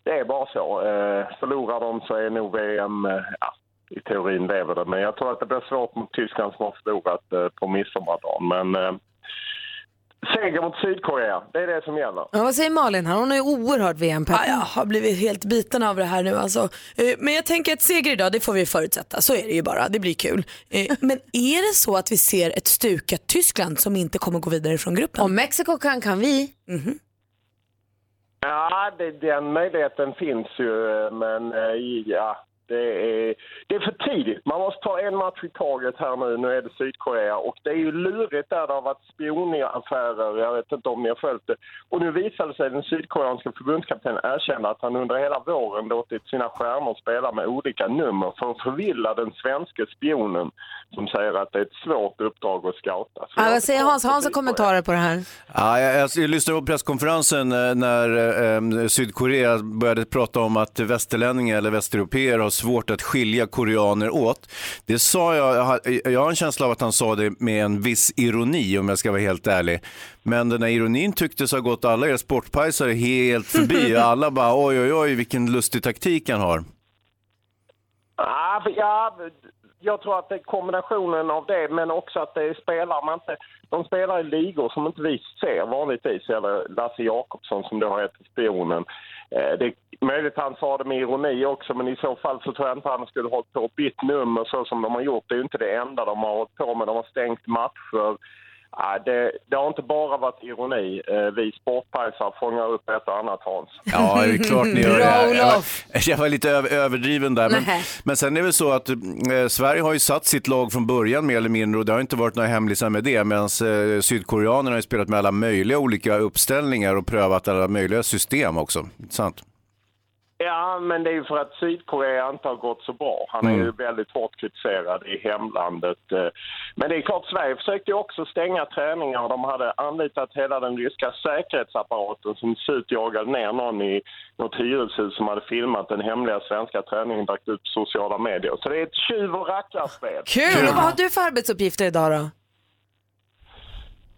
Speaker 11: det är bara så. Eh, Förlorar de så är nog VM, eh, ja, i teorin lever det. Men jag tror att det blir svårt mot Tyskland som har förlorat eh, på midsommardagen. Men eh, seger mot Sydkorea, det är det som gäller.
Speaker 1: Ja, vad säger Malin här? Hon är oerhört VM-pepp.
Speaker 4: Ja, jag har blivit helt biten av det här nu alltså. Eh, Men jag tänker att seger idag, det får vi förutsätta. Så är det ju bara, det blir kul. Eh, Men är det så att vi ser ett stukat Tyskland som inte kommer gå vidare från gruppen? Mhm.
Speaker 1: Om Mexiko kan, kan vi.
Speaker 11: Ja, det, den möjligheten finns ju, men eh, ja, Det är, det är för tidigt. Man måste ta en match i taget här nu. Nu är det Sydkorea och det är ju lurigt där. Det har varit spionaffärer. Jag vet inte om ni har följt det. Och nu visade sig den sydkoreanska förbundskaptenen erkänna att han under hela våren låtit sina stjärnor spela med olika nummer för att förvilla den svenska spionen som säger att det är ett svårt uppdrag att scouta. Så
Speaker 1: Ja, vad säger Hans? Hans har kommentarer på det här.
Speaker 6: Ja, jag, jag, jag lyssnade på presskonferensen eh, när eh, em, Sydkorea började prata om att västerlänningar eller västeuropeer har svårt att skilja koreaner åt. Det sa jag, jag har- jag har en känsla av att han sa det med en viss ironi om jag ska vara helt ärlig. Men den här ironin tycktes ha gått alla er sportpajsare helt förbi. Alla bara oj oj oj vilken lustig taktik han har.
Speaker 11: Ja, för- ja, jag tror att det är kombinationen av det, men också att det är spelare man inte... De spelar i ligor som inte vi ser vanligtvis, eller Lasse Jakobsson som då heter spionen. Eh, Det är möjligt han sa det med ironi också, men i så fall så tror jag inte han skulle ha hållit på och bytt nummer så som de har gjort. Det är ju inte det enda de har hållit på med. De har stängt matcher. Ja, det, det har inte bara varit ironi. Eh, Vi sportpajsar fångar upp ett och annat, Hans.
Speaker 6: Ja, det är klart ni gör
Speaker 11: Bra,
Speaker 6: det. Jag- Jag var,
Speaker 11: Olof.
Speaker 6: [LAUGHS] jag var lite över, överdriven där. Men,
Speaker 11: Nej.
Speaker 6: men sen är det väl så att eh, Sverige har ju satt sitt lag från början mer eller mindre och det har inte varit några hemlisar med det. Medan eh, sydkoreanerna har ju spelat med alla möjliga olika uppställningar och prövat alla möjliga system också. Sant?
Speaker 11: Ja, men det är ju för att Sydkorea inte har gått så bra. Han är
Speaker 6: Mm.
Speaker 11: ju väldigt hårt kritiserad i hemlandet. eh. Men det är klart, Sverige försökte ju också stänga träningar och de hade anlitat hela den ryska säkerhetsapparaten som till slut jagade ner någon i något hyreshus som hade filmat den hemliga svenska träningen och lagt ut på sociala medier. Så det är ett tjuv och rackarspel.
Speaker 1: Kul! Och vad har du för arbetsuppgifter idag då?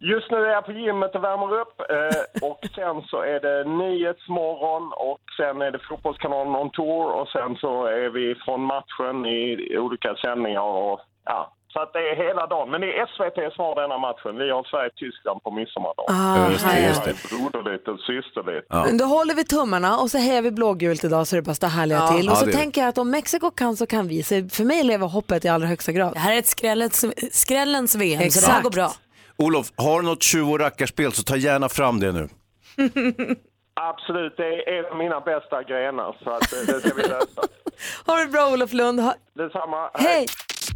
Speaker 11: Just nu är jag på gymmet och värmer upp eh, och sen så är det Nyhetsmorgon och sen är det Fotbollskanalen on tour och sen så är vi från matchen i olika sändningar och ja. Så att det är hela dagen. Men det är SVT som har denna matchen. Vi har Sverige-Tyskland på midsommardag.
Speaker 1: Ah, Just det, just
Speaker 11: det. är Broderligt och systerligt.
Speaker 1: [LAUGHS] Men Då håller vi tummarna och så hejar vi blågult idag så det bara står härliga
Speaker 11: Ja.
Speaker 1: till.
Speaker 11: Ja,
Speaker 1: Och så
Speaker 11: det gör vi.
Speaker 1: tänker jag att om Mexiko kan så kan vi. Så för mig lever hoppet i allra högsta grad.
Speaker 4: Det här är ett skrällets, skrällens VM så det här
Speaker 1: Exakt.
Speaker 4: går bra.
Speaker 6: Olof, har du något tjuv och rackarspel så ta gärna fram det nu.
Speaker 11: Absolut, det är en av mina bästa grenar så att eh, det ska vi lösa.
Speaker 1: Ha det bra Olof Lund. Ha...
Speaker 11: Detsamma.
Speaker 1: Hej!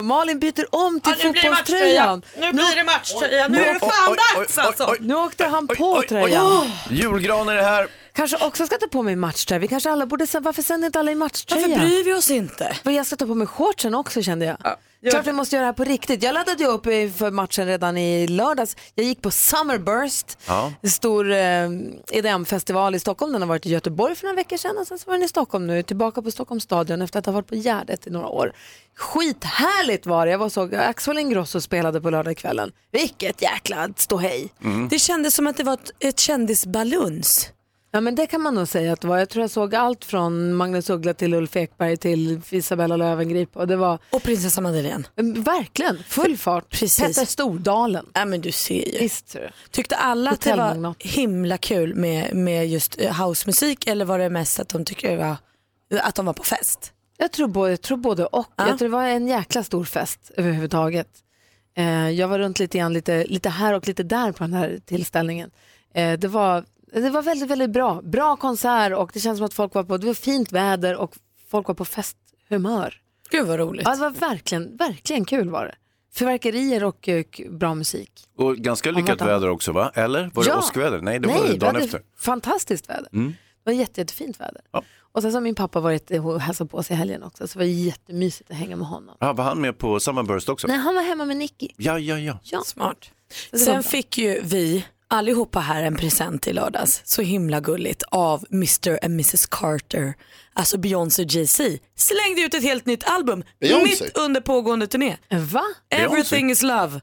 Speaker 1: Malin byter om till
Speaker 4: Ja, nu blir det
Speaker 1: fotbollströjan.
Speaker 4: matchtröja. Nu blir det matchtröja. Nu är det fan Oj, oj, dags, oj, alltså. oj, oj.
Speaker 1: Nu åkte han på tröjan.
Speaker 6: Julgranen är här.
Speaker 1: Kanske också ska ta på mig matchtröja. Vi kanske alla borde, sä- varför sänder inte alla i matchtröja?
Speaker 4: Varför bryr vi oss inte?
Speaker 1: Men jag ska ta på mig shortsen också kände jag. Klart vi måste göra det här på riktigt. Jag laddade ju upp eh, för matchen redan i lördags. Jag gick på Summerburst,
Speaker 13: Ja.
Speaker 1: en stor eh, EDM-festival i Stockholm. Den har varit i Göteborg för några veckor sedan och sen så var den i Stockholm nu. Tillbaka på Stockholms stadion efter att ha varit på Gärdet i några år. Skithärligt var det. Jag var och såg Axel Ingrosso spelade på lördagskvällen. Vilket jäkla ståhej.
Speaker 4: Mm. Det kändes som att det var ett, ett kändisbaluns.
Speaker 1: Ja men det kan man nog säga att det var. Jag tror jag såg allt från Magnus Uggla till Ulf Ekberg till Isabella Löwengrip och det var...
Speaker 4: Och prinsessa Madeleine.
Speaker 1: Verkligen, full fart. Petter Stordalen.
Speaker 4: Ja men du ser ju.
Speaker 1: Visst, tror jag.
Speaker 4: Tyckte alla att det var
Speaker 1: Hotellmagnat.
Speaker 4: himla kul med, med just eh, housemusik eller var det mest att de tyckte det var, att de var på fest?
Speaker 1: Jag tror både, jag tror både och. Jag tror det var en jäkla stor fest överhuvudtaget. Eh, jag var runt lite grann, lite, lite här och lite där på den här tillställningen. Eh, det, var, det var väldigt, väldigt bra. Bra konsert och det känns som att folk var på, det var fint väder och folk var på festhumör.
Speaker 4: Gud vad roligt.
Speaker 1: Ja, det var verkligen, verkligen kul var det. Fyrverkerier och eh, k- bra musik.
Speaker 6: Och ganska
Speaker 1: Om
Speaker 6: lyckat
Speaker 1: inte annat.
Speaker 6: väder också va? Eller? Var det
Speaker 1: Ja.
Speaker 6: åskväder? Nej, det var
Speaker 1: Nej,
Speaker 6: det dagen
Speaker 1: hade
Speaker 6: efter.
Speaker 1: Fantastiskt väder.
Speaker 6: Mm.
Speaker 1: Det var jätte, jättefint väder. Och sen så har min pappa varit eh, och hälsat på oss i helgen också, så det var jättemysigt att hänga med honom.
Speaker 6: Ja, Ah, var han med på Summerburst också?
Speaker 1: Nej, han var hemma med Nicky.
Speaker 6: Ja, ja, ja.
Speaker 1: Ja.
Speaker 4: Smart.
Speaker 1: Det var bra.
Speaker 4: Sen fick ju vi allihopa här en present i lördags, så himla gulligt, av Mr and Mrs Carter. Alltså Beyoncé och Jay-Z slängde ut ett helt nytt album
Speaker 14: Beyoncé?
Speaker 4: mitt under pågående turné.
Speaker 1: Va?
Speaker 4: Everything is love.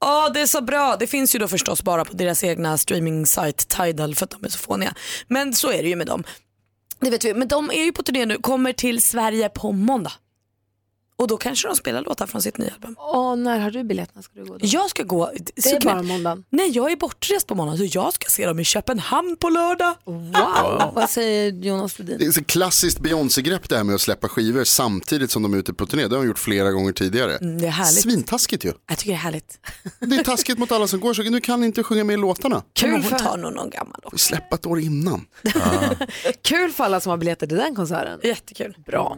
Speaker 4: Ja, det är så bra. Det finns ju då förstås bara på deras egna streaming-site Tidal för att de är så fåniga. Men så är det ju med dem. Det vet vi. Men de är ju på turné nu, kommer till Sverige på måndag. Och då kanske de spelar låtar från sitt nya album.
Speaker 1: Och när har du biljetterna? Ska du gå då?
Speaker 4: Jag ska gå...
Speaker 1: Det är bara måndagen.
Speaker 4: Nej, jag är bortrest på måndag så jag ska se dem i Köpenhamn på lördag.
Speaker 1: Wow, vad säger Jonas Rhodin?
Speaker 13: Det är ett klassiskt Beyoncé-grepp det här med att släppa skivor samtidigt som de är ute på turné. Det har de gjort flera gånger tidigare.
Speaker 4: Mm, det är härligt.
Speaker 13: Svintaskigt ju.
Speaker 4: Jag tycker det är härligt.
Speaker 13: Det är taskigt mot alla som går så nu kan ni inte sjunga med i låtarna.
Speaker 1: Kul
Speaker 4: Hon
Speaker 1: för-
Speaker 4: tar nog någon gammal.
Speaker 13: Släppa ett år innan.
Speaker 1: Kul för alla som har biljetter till den konserten.
Speaker 4: Jättekul.
Speaker 1: [LAUGHS] Bra.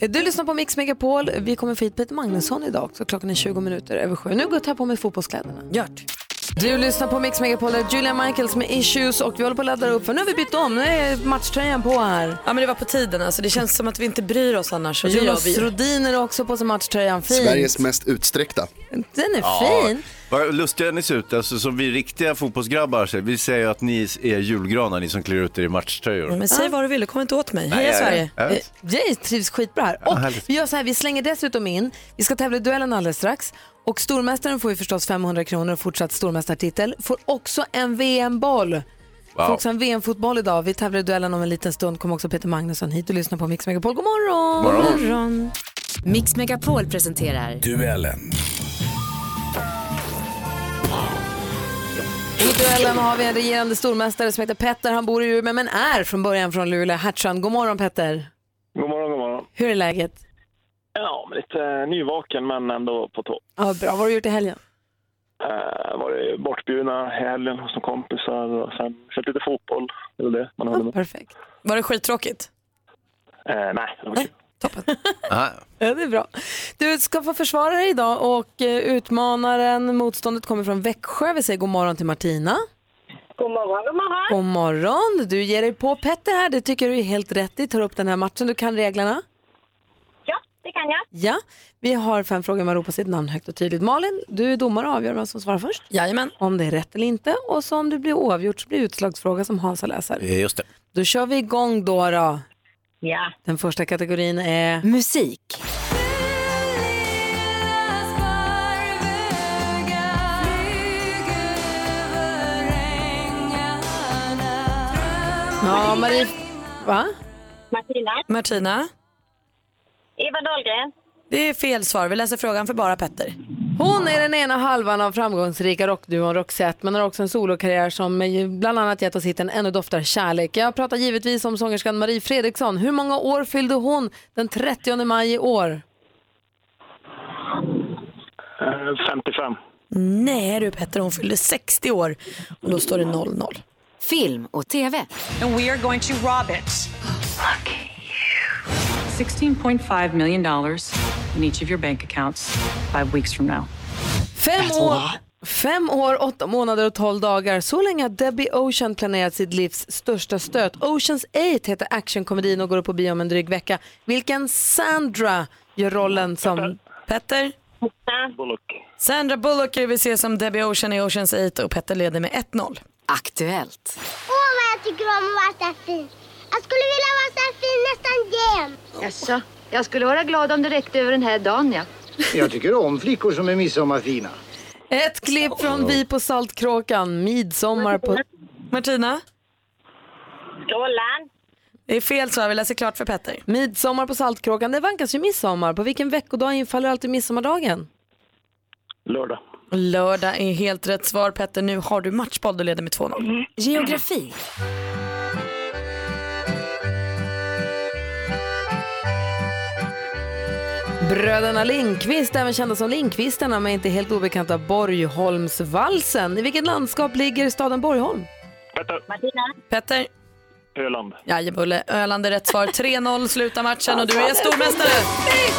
Speaker 1: Eh, Du lyssnar på Mix Megapol. Vi kommer få hit Peter Magnusson idag också. Klockan är 20 minuter över sju. Nu går jag på mig fotbollskläderna.
Speaker 4: Gjort.
Speaker 1: Du lyssnar på Mix Megapol, där Julia Michaels med Issues och vi håller på att ladda upp för nu har vi bytt om. Nu är matchtröjan på här.
Speaker 4: Ja men det var på tiden alltså. Det känns som att vi inte bryr oss annars. och det
Speaker 1: Jonas
Speaker 4: gör vi.
Speaker 1: Rhodin är också på sig matchtröjan. Fin.
Speaker 13: Sveriges mest utsträckta.
Speaker 1: Den är fin.
Speaker 6: Vad lustiga ni ser ut, alltså, som vi riktiga fotbollsgrabbar. Så, vi säger ju att ni är julgranar, ni som klär ut er i matchtröjor.
Speaker 4: Men säg vad du vill, kom inte åt mig.
Speaker 6: Nej,
Speaker 4: Heja
Speaker 6: jag-
Speaker 4: Sverige.
Speaker 6: jag vet.
Speaker 1: Jag Eh, trivs skitbra här. Och
Speaker 6: härligt.
Speaker 1: vi gör så här, vi slänger dessutom in, vi ska tävla i duellen alldeles strax. Och stormästaren får ju förstås 500 kronor och fortsatt stormästartitel. Får också en VM-boll.
Speaker 14: Wow.
Speaker 1: Får också en VM-fotboll idag. Vi tävlar i duellen om en liten stund. Kommer också Peter Magnusson hit och lyssnar på Mix Megapol. God morgon!
Speaker 14: God morgon.
Speaker 15: Mix Megapol presenterar
Speaker 16: Duellen.
Speaker 1: I duellen har vi en regerande stormästare som heter Petter. Han bor i Umeå men är från början från Luleå, Hertsön. God morgon Petter!
Speaker 17: God morgon, god morgon.
Speaker 1: Hur är läget?
Speaker 17: Ja, men lite eh, nyvaken men ändå på topp.
Speaker 1: Ja, bra. Vad har du gjort i helgen?
Speaker 17: Eh, varit bortbjudna i helgen hos några kompisar och sen sett lite fotboll. Det är väl det man håller med.
Speaker 1: Perfekt.
Speaker 4: Var det skittråkigt?
Speaker 17: Eh, nej, det var kul.
Speaker 1: Ja, det är bra. Du ska få försvara dig idag och eh, utmanaren, motståndet kommer från Växjö. Vi säger god morgon till Martina.
Speaker 14: God morgon, god morgon.
Speaker 1: God morgon. Du ger dig på Petter här. Det tycker du är helt rätt i. Tar upp den här matchen. Du kan reglerna.
Speaker 14: Ja, det kan jag.
Speaker 1: Ja, vi har fem frågor. Man ropar sitt namn högt och tydligt. Malin, du är domare och avgör vem som svarar först.
Speaker 4: Jajamän.
Speaker 1: Om det är rätt eller inte. Och så om det blir oavgjort så blir det utslagsfråga som Hansa läser.
Speaker 6: Eh, Just det.
Speaker 1: Då kör vi igång då. då.
Speaker 14: Ja.
Speaker 1: Den första kategorin är... Musik. Ja, Marie... Va?
Speaker 14: Martina.
Speaker 4: Martina.
Speaker 14: Eva Dahlgren.
Speaker 4: Det är fel svar. Vi läser frågan för bara Petter.
Speaker 1: Hon är den ena halvan av framgångsrika rockduon Roxette men har också en solokarriär som ju bland annat gett oss hiten Ännu doftar kärlek. Jag pratar givetvis om sångerskan Marie Fredriksson. Hur många år fyllde hon den 30 maj i år?
Speaker 17: Eh, 55.
Speaker 4: Nej du Petter, hon fyllde 60 år och då står det 0-0. Film och TV.
Speaker 18: And we are going to rob it. Lucky you. $16.5 million in each of your bank accounts five weeks from now.
Speaker 1: Fem
Speaker 18: That's a
Speaker 1: år,
Speaker 18: lot.
Speaker 1: fem år, åtta månader och tolv dagar. Så länge har Debbie Ocean planerat sitt livs största stöt. Oceans 8 heter actionkomedin och går upp på bio om en dryg vecka. Vilken Sandra gör rollen som...
Speaker 4: Petter?
Speaker 17: Bullock.
Speaker 4: Sandra Bullock är vi ser som Debbie Ocean i Oceans 8 och Petter leder med 1-0. Aktuellt.
Speaker 14: Åh, vad jag tycker om att vara så fin. Jag skulle vilja vara så fin nästan jämt.
Speaker 19: Jaså, jag skulle vara glad om det räckte över den här dagen, ja.
Speaker 20: Jag tycker om flickor som är midsommarfina.
Speaker 1: Ett klipp från
Speaker 20: Oh.
Speaker 1: Vi på Saltkråkan, midsommar på...
Speaker 4: Martina?
Speaker 14: Strålan.
Speaker 4: Det är fel svar, vi läser klart för Petter.
Speaker 1: Midsommar på Saltkråkan, det vankas ju midsommar. På vilken veckodag infaller alltid midsommardagen?
Speaker 17: Lördag.
Speaker 4: Lördag är helt rätt svar Petter. Nu har du matchboll, du leder med 2-0. Mm. Geografi.
Speaker 1: Bröderna Lindqvist, även kända som Lindqvisterna men inte helt obekanta Borgholmsvalsen. I vilket landskap ligger staden Borgholm?
Speaker 17: Petter.
Speaker 14: Martina.
Speaker 4: Petter.
Speaker 17: Öland.
Speaker 4: Jajebulle, Öland är rätt svar. 3-0 slutar matchen och du är stormästare.
Speaker 6: Nej,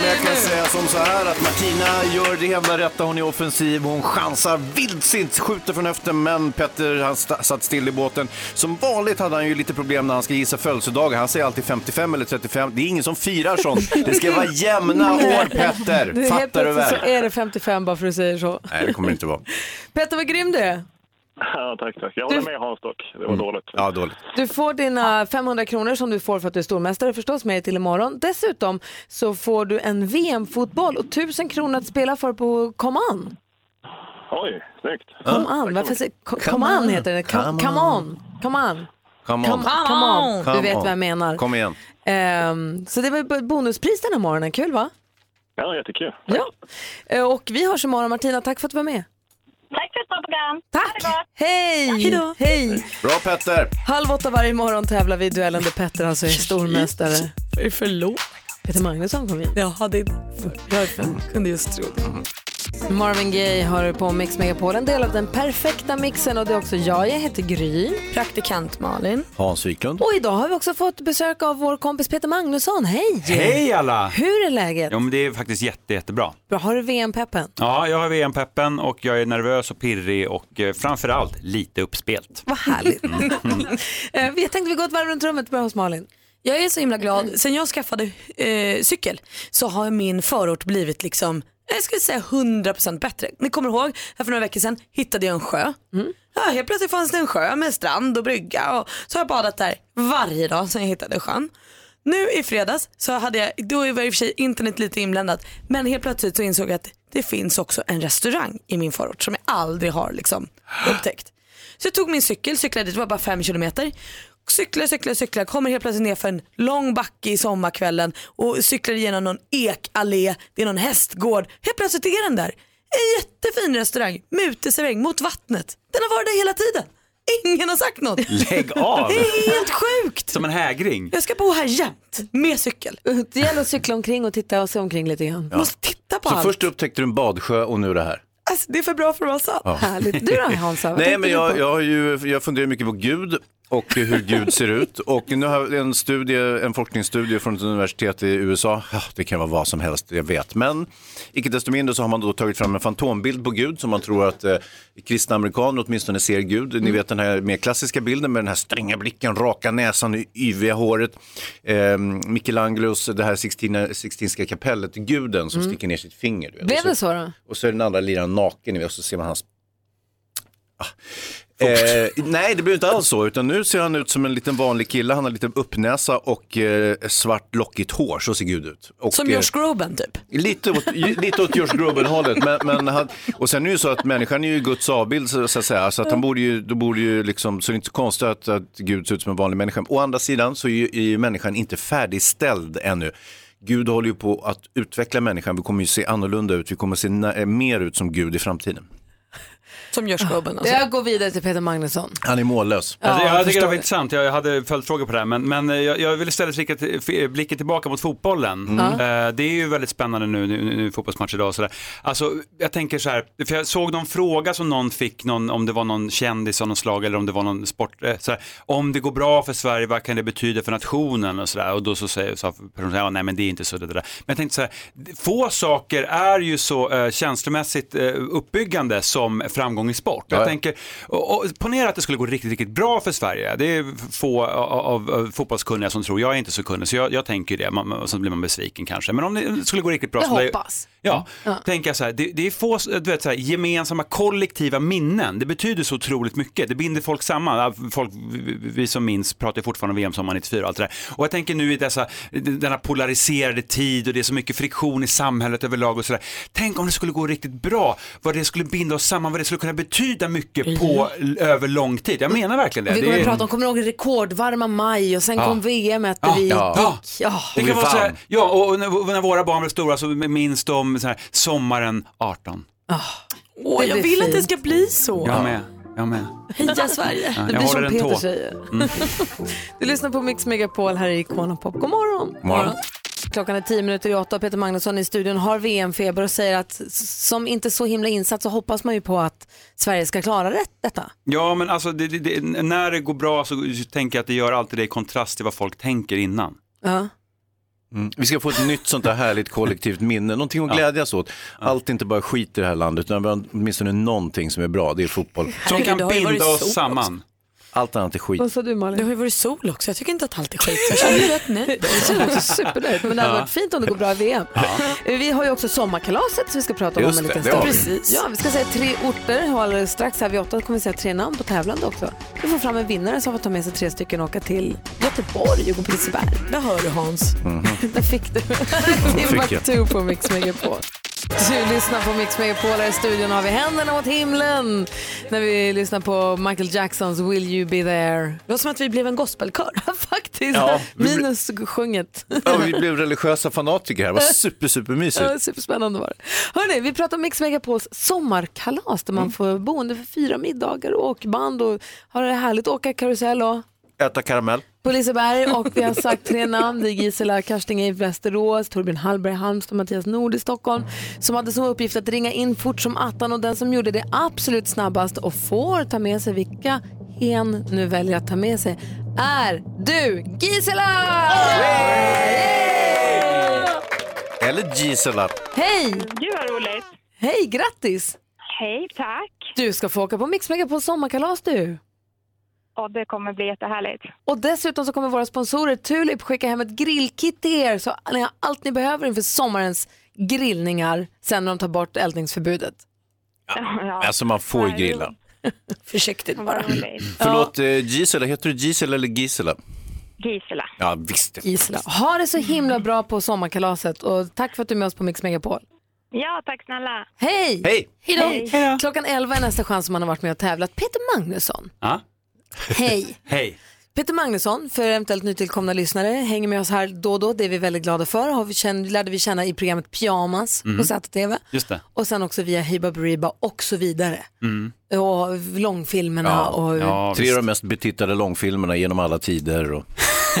Speaker 6: men jag kan säga som så här att Martina gör det enda rätta. Hon är offensiv, hon chansar vildsint, skjuter från höften. Men Petter, han sta- satt still i båten. Som vanligt hade han ju lite problem när han ska gissa födelsedagar. Han säger alltid 55 eller 35. Det är ingen som firar sånt. Det ska vara
Speaker 1: [LAUGHS]
Speaker 6: jämna år,
Speaker 1: Du,
Speaker 6: Petter.
Speaker 1: helt
Speaker 6: Fattar du
Speaker 1: plötsligt så
Speaker 6: väl?
Speaker 1: är det 55 bara för att du säger så.
Speaker 6: Nej, det kommer det inte vara.
Speaker 1: Petter, vad grym du är.
Speaker 17: Ja, tack, tack. Jag håller med Hans dock. Det var dåligt.
Speaker 6: Mm. Ja, dåligt.
Speaker 1: Du får dina 500 kronor som du får för att du är stormästare förstås med dig till imorgon. Dessutom så får du en VM-fotboll och 1000 kronor att spela för på Come On.
Speaker 17: Oj, snyggt.
Speaker 1: Come On, varför säger Come,
Speaker 17: Come
Speaker 1: on.
Speaker 17: on.
Speaker 1: heter den. Come,
Speaker 17: Come
Speaker 1: come on. Come on.
Speaker 6: Come on.
Speaker 1: come on. Du vet vad jag menar.
Speaker 6: Kom igen.
Speaker 1: Ehm, så det var ett bonuspris den här morgonen. Kul va?
Speaker 17: Ja, jättekul.
Speaker 1: Ja. Eh, Och vi hörs imorgon Martina. Tack för att du var med.
Speaker 8: Tack för ett bra program.
Speaker 1: Tack! Hej!
Speaker 8: Hejdå.
Speaker 1: Hej!
Speaker 6: Bra Petter!
Speaker 1: Halv åtta varje morgon tävlar vi i duellen där Petter alltså är stormästare. Jag är förlorad. Peter Magnusson kom hit. Ja, det därför kunde just tro det. Marvin Gaye hör på Mix Megapol, en del av den perfekta mixen och det är också jag. Jag heter Gry. Praktikant Malin.
Speaker 6: Hans Wiklund.
Speaker 1: Och idag har vi också fått besök av vår kompis Peter Magnusson. Hej!
Speaker 12: Hej alla!
Speaker 1: Hur är läget?
Speaker 12: Ja, men det är faktiskt jätte, jättebra.
Speaker 1: Bra, har du VM-peppen?
Speaker 12: Ja, jag har VM-peppen och jag är nervös och pirrig och eh, framförallt lite uppspelt.
Speaker 1: Vad härligt. Eh, Vi tänkte vi går ett varv runt rummet, börjar hos Malin.
Speaker 4: Jag är så himla glad. Sen jag skaffade eh, cykel så har min förort blivit liksom, jag skulle säga 100% bättre. Ni kommer ihåg, här för några veckor sedan hittade jag en sjö. Ja, helt plötsligt fanns det en sjö med strand och brygga och så har jag badat där varje dag sedan jag hittade sjön. Nu i fredags så hade jag, då var i och för sig internet lite inblandat, men helt plötsligt så insåg jag att det finns också en restaurang i min förort som jag aldrig har liksom upptäckt. Så jag tog min cykel, cyklade dit, det var bara 5 kilometer. Cyklar, cyklar, cyklar, kommer helt plötsligt ner för en lång backe i sommarkvällen och cyklar igenom någon ekallé, det är någon hästgård. Helt plötsligt är den där. En jättefin restaurang med uteservering mot vattnet. Den har varit där hela tiden. Ingen har
Speaker 6: [LAUGHS]
Speaker 4: sagt något.
Speaker 12: Lägg av!
Speaker 4: Det är helt sjukt.
Speaker 12: Som en hägring.
Speaker 4: Jag ska bo här jämt med cykel.
Speaker 1: Det gäller att cykla omkring och titta och se omkring lite grann.
Speaker 6: Ja. Måste
Speaker 4: titta
Speaker 1: på
Speaker 6: Så
Speaker 1: allt.
Speaker 6: först upptäckte du en badsjö och nu det här.
Speaker 4: Alltså, det är för bra för att vara sant.
Speaker 6: Ja. [LAUGHS]
Speaker 1: Härligt. Du då Hansa? Vad
Speaker 6: Nej,
Speaker 1: tänkte
Speaker 6: men
Speaker 1: du
Speaker 6: jag,
Speaker 1: på?
Speaker 6: jag, har ju, jag funderar mycket på Gud och hur Gud ser
Speaker 1: [LAUGHS]
Speaker 6: ut. Och nu har jag en, studie, en forskningsstudie från ett universitet i USA, Ja, det kan vara vad som helst, jag vet. Men icke desto mindre så har man då tagit fram en fantombild på Gud som man tror att eh, kristna amerikaner åtminstone ser Gud.
Speaker 1: Mm.
Speaker 6: Ni vet den här mer klassiska bilden med den här stränga blicken, raka näsan, y- yviga håret. Eh, Michelangelos, det här Sixtina- Sixtinska kapellet, guden som
Speaker 1: Mm.
Speaker 6: sticker ner sitt finger. du vet.
Speaker 1: Blev
Speaker 6: Och
Speaker 1: det så då?
Speaker 6: och så är den andra liraren naken i och så ser man hans... Ah. Eh, nej, det blir inte alls så, utan nu ser han ut som en liten vanlig kille. Han har lite uppnäsa och eh, svart lockigt hår, så ser Gud ut. Och, eh,
Speaker 4: Som Josh Groban typ.
Speaker 6: Lite åt, ju- lite åt Josh Groban-hållet. Men, men han, och sen är det ju så att människan är ju Guds avbild så, så att säga. Så att han borde ju, då borde ju liksom, så det är inte så konstigt att, att Gud ser ut som en vanlig människa. Å andra sidan så är ju, är ju människan inte färdigställd ännu. Gud håller ju på att utveckla människan. Vi kommer ju se annorlunda ut. Vi kommer se nä- eh, mer ut som Gud i framtiden.
Speaker 4: Som Josh Groban alltså.
Speaker 1: Jag går vidare till Peter Magnusson.
Speaker 6: Han är mållös.
Speaker 12: Alltså,
Speaker 1: jag
Speaker 12: jag tycker
Speaker 1: förstår
Speaker 12: det var
Speaker 1: det.
Speaker 12: intressant, jag hade följdfrågor på det här, men, men eh, jag, jag vill istället rikta till- eh, f- blicken tillbaka mot fotbollen.
Speaker 16: Mm.
Speaker 12: Eh, det är ju väldigt spännande nu, nu, nu nu fotbollsmatch idag och sådär. Alltså, jag tänker så här, för jag såg någon fråga som någon fick, någon, om det var någon kändis av något slag eller om det var någon sport, eh, så här, om det går bra för Sverige, vad kan det betyda för nationen och sådär. Och då så säger, sa personen, ja, nej men det är inte så det där. Men jag tänkte så här, få saker är ju så eh, känslomässigt eh, uppbyggande som framgång i sport. Jag
Speaker 6: Ja, ja.
Speaker 12: tänker, och, och, ponera att det skulle gå riktigt, riktigt bra för Sverige. Det är få av, av, av fotbollskunniga som tror, jag är inte så kunnig, så jag, jag tänker ju det, man, man- så blir man besviken kanske. Men om det skulle gå riktigt bra.
Speaker 1: Jag
Speaker 12: så lär ju-
Speaker 1: hoppas.
Speaker 12: Ja, tänker jag så här, det, det är få du vet, så här, gemensamma kollektiva minnen, det betyder så otroligt mycket, det binder folk samman. Ja, Folk, vi- vi som minns pratar ju fortfarande om VM sommaren 94 och allt det där. Och jag tänker nu i dessa, denna polariserade tid och det är så mycket friktion i samhället överlag och sådär. Tänk om det skulle gå riktigt bra, vad det skulle binda oss samman, vad det skulle kunna betyda mycket på, över lång tid. Jag menar verkligen det.
Speaker 1: Vi
Speaker 12: Det
Speaker 1: kommer
Speaker 12: är-
Speaker 1: att prata om, kommer ni ihåg rekordvarma maj och sen
Speaker 12: Ja.
Speaker 1: kom VM att
Speaker 12: Ja.
Speaker 1: vi
Speaker 12: Ja.
Speaker 1: gick. Ja.
Speaker 12: Det kan vara så här, ja, och när, när våra barn blev stora så minns de så här, sommaren 18.
Speaker 4: Åh, jag
Speaker 1: blir
Speaker 4: vill att det
Speaker 1: fint.
Speaker 4: ska bli så.
Speaker 12: Jag med, jag med.
Speaker 4: Heja Sverige.
Speaker 12: Ja,
Speaker 1: Det
Speaker 12: jag
Speaker 1: blir som
Speaker 12: håller en
Speaker 1: Peter
Speaker 12: tå.
Speaker 1: säger.
Speaker 12: Mm.
Speaker 1: Du lyssnar på Mix Megapol, här är Icon och Pop. God morgon.
Speaker 12: Morgon.
Speaker 1: Klockan är tio minuter i åtta och Peter Magnusson i studion har VM-feber och säger att s- som inte så himla insatt så hoppas man ju på att Sverige ska klara rätt detta.
Speaker 12: Ja, men alltså det, det, det, när det går bra så tänker jag att det gör alltid det i kontrast till vad folk tänker innan.
Speaker 1: Ja.
Speaker 6: Mm. Vi ska få ett nytt sånt där härligt kollektivt minne, någonting att
Speaker 12: Ja.
Speaker 6: glädjas åt. Allt är inte bara skit i det här landet, utan vi har åtminstone någonting som är bra, det är fotboll.
Speaker 12: Som kan
Speaker 4: det har ju
Speaker 12: binda
Speaker 4: varit
Speaker 12: oss
Speaker 4: sol
Speaker 12: samman.
Speaker 6: Allt annat är skit.
Speaker 1: sa du Malin?
Speaker 4: Det har ju varit sol också. Jag tycker inte att allt är skit. Jag känner
Speaker 1: [LAUGHS]
Speaker 4: mig rätt nöjd.
Speaker 1: Jag känner mig också [LAUGHS] supernöjd, men det hade
Speaker 4: Ja.
Speaker 1: varit fint om det går bra i VM.
Speaker 4: Ja.
Speaker 1: Vi har ju också sommarkalaset som vi ska prata om,
Speaker 4: Just
Speaker 1: om en
Speaker 4: det,
Speaker 1: liten
Speaker 4: det har
Speaker 1: stund.
Speaker 4: vi. Precis.
Speaker 1: Ja, vi ska säga tre orter och alldeles strax här vid åtta kommer vi säga tre namn på tävlande också. Vi får fram en vinnare som får ta med sig tre stycken och åka till Göteborg och gå på Liseberg.
Speaker 12: Mhm.
Speaker 4: Där hör du Hans.
Speaker 1: Där fick du.
Speaker 4: Fick jag.
Speaker 1: Timbuktu på Mix Megapol. Du lyssnar på Mix Megapol. Här i studion har vi händerna mot himlen när vi lyssnar på Michael Jacksons Will You Be There. Det
Speaker 4: var som att vi blev en gospelkör.
Speaker 1: [LAUGHS] Faktiskt.
Speaker 6: Ja, vi ble-
Speaker 1: Minus sjunget.
Speaker 6: Ja, vi blev religiösa fanatiker här. Det var super, supermysigt.
Speaker 1: Ja, superspännande var det. Hörrni, vi pratar om Mix Megapols sommarkalas där man får boende för fyra middagar och åkband och har det härligt, åka karusell och
Speaker 6: Äta karamell.
Speaker 1: på Liseberg och vi har sagt tre namn. Det är Gisela Karsting i Västerås, Torbjörn Hallberg i Halmstad, Mattias Nord i Stockholm som hade som uppgift att ringa in fort som attan och den som gjorde det absolut snabbast och får ta med sig vilka hen nu väljer att ta med sig är du Gisela!
Speaker 6: Eller Gisela.
Speaker 1: Hej!
Speaker 8: Gud vad roligt.
Speaker 1: Hej, grattis!
Speaker 8: Hej, tack.
Speaker 1: Du ska få åka på Mix på sommarkalas du.
Speaker 8: Och det kommer bli jättehärligt.
Speaker 1: Och dessutom så kommer våra sponsorer Tulip skicka hem ett grillkit till er så ni har allt ni behöver inför sommarens grillningar sen när de tar bort eldningsförbudet.
Speaker 8: Ja.
Speaker 6: Alltså man får ju grilla.
Speaker 4: Försiktigt bara.
Speaker 1: Mm.
Speaker 6: Förlåt, eh, Gisela, heter du Gisela eller Gisela?
Speaker 8: Gisela.
Speaker 6: Ja, visst.
Speaker 1: Gisela. Ha det så himla bra på sommarkalaset och tack för att du är med oss på Mix Megapol.
Speaker 8: Ja, tack snälla.
Speaker 1: Hej!
Speaker 8: Hej!
Speaker 1: Hejdå.
Speaker 8: Hej.
Speaker 1: Klockan 11 är nästa chans som man har varit med och tävlat. Peter Magnusson,
Speaker 12: Ja.
Speaker 1: hej!
Speaker 12: Hej.
Speaker 1: Peter Magnusson, för eventuellt nytillkomna lyssnare, hänger med oss här då och då. Det är vi väldigt glada för. Har vi känn, lärde vi känna i programmet Pyjamas på
Speaker 12: Mm.
Speaker 1: ZTV.
Speaker 12: Just det.
Speaker 1: Och sen också via Hiba Beriba och så vidare.
Speaker 12: Mm.
Speaker 1: Och långfilmerna och...
Speaker 6: Tre av de mest betittade långfilmerna genom alla tider.
Speaker 12: [LAUGHS]
Speaker 6: Och...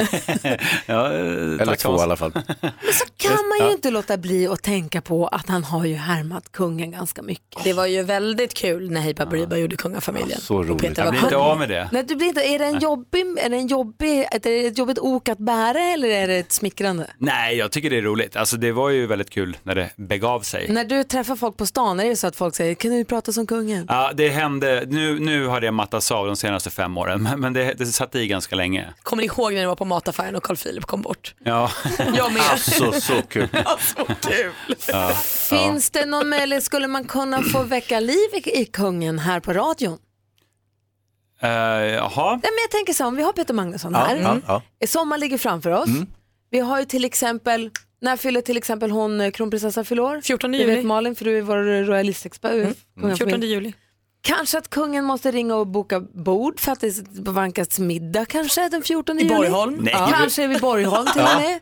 Speaker 12: eh,
Speaker 6: Eller två i alla fall.
Speaker 1: Mm. kan man ju
Speaker 6: Ja.
Speaker 1: inte låta bli att tänka på att han har ju härmat kungen ganska mycket.
Speaker 4: Det var ju väldigt kul när Hiba Beriba gjorde Kungafamiljen.
Speaker 6: Så roligt.
Speaker 4: Peter, Jag blir vad- inte
Speaker 12: av med det.
Speaker 1: Nej, du blir inte, är det en
Speaker 12: Nej.
Speaker 1: jobbig, är det en jobbig, är det ett jobbigt ok att bära eller är det ett smickrande?
Speaker 12: Nej, jag tycker det är roligt. Alltså det var ju väldigt kul när det begav sig.
Speaker 1: När du träffar folk på stan, är det så att folk säger kan du prata som kungen?
Speaker 12: Ja, det hände, nu, nu har det mattats av de senaste fem åren, [LAUGHS] men, men det, det satt i ganska länge.
Speaker 4: Kommer ni ihåg när ni var på mataffären och Carl Philip kom bort?
Speaker 12: Ja.
Speaker 4: Jag med.
Speaker 12: Alltså, så kul.
Speaker 4: Alltså, kul.
Speaker 12: Ja.
Speaker 1: Finns det någon möjlighet, skulle man kunna
Speaker 12: [CLEARS THROAT]
Speaker 1: få väcka liv i, i kungen här på radion?
Speaker 12: Eh, Jaha.
Speaker 1: Nej, men jag tänker så, om vi har Peter Magnusson
Speaker 12: Ja,
Speaker 1: här. Mm.
Speaker 12: ja, Mm. ja.
Speaker 1: Sommar ligger framför oss. Vi har ju till exempel, när fyller till exempel hon eh, kronprinsessan fyller år? 14
Speaker 4: juli.
Speaker 1: Det vet Malin för du är vår royalistexpert. Mm.
Speaker 4: 14 juli.
Speaker 1: Kanske att kungen måste ringa och boka bord för att det vankas middag kanske den 14
Speaker 4: I
Speaker 1: juli.
Speaker 4: Borgholm?
Speaker 12: Nej.
Speaker 1: Ja. Kanske vid Borgholm
Speaker 6: [LAUGHS]
Speaker 1: till och med.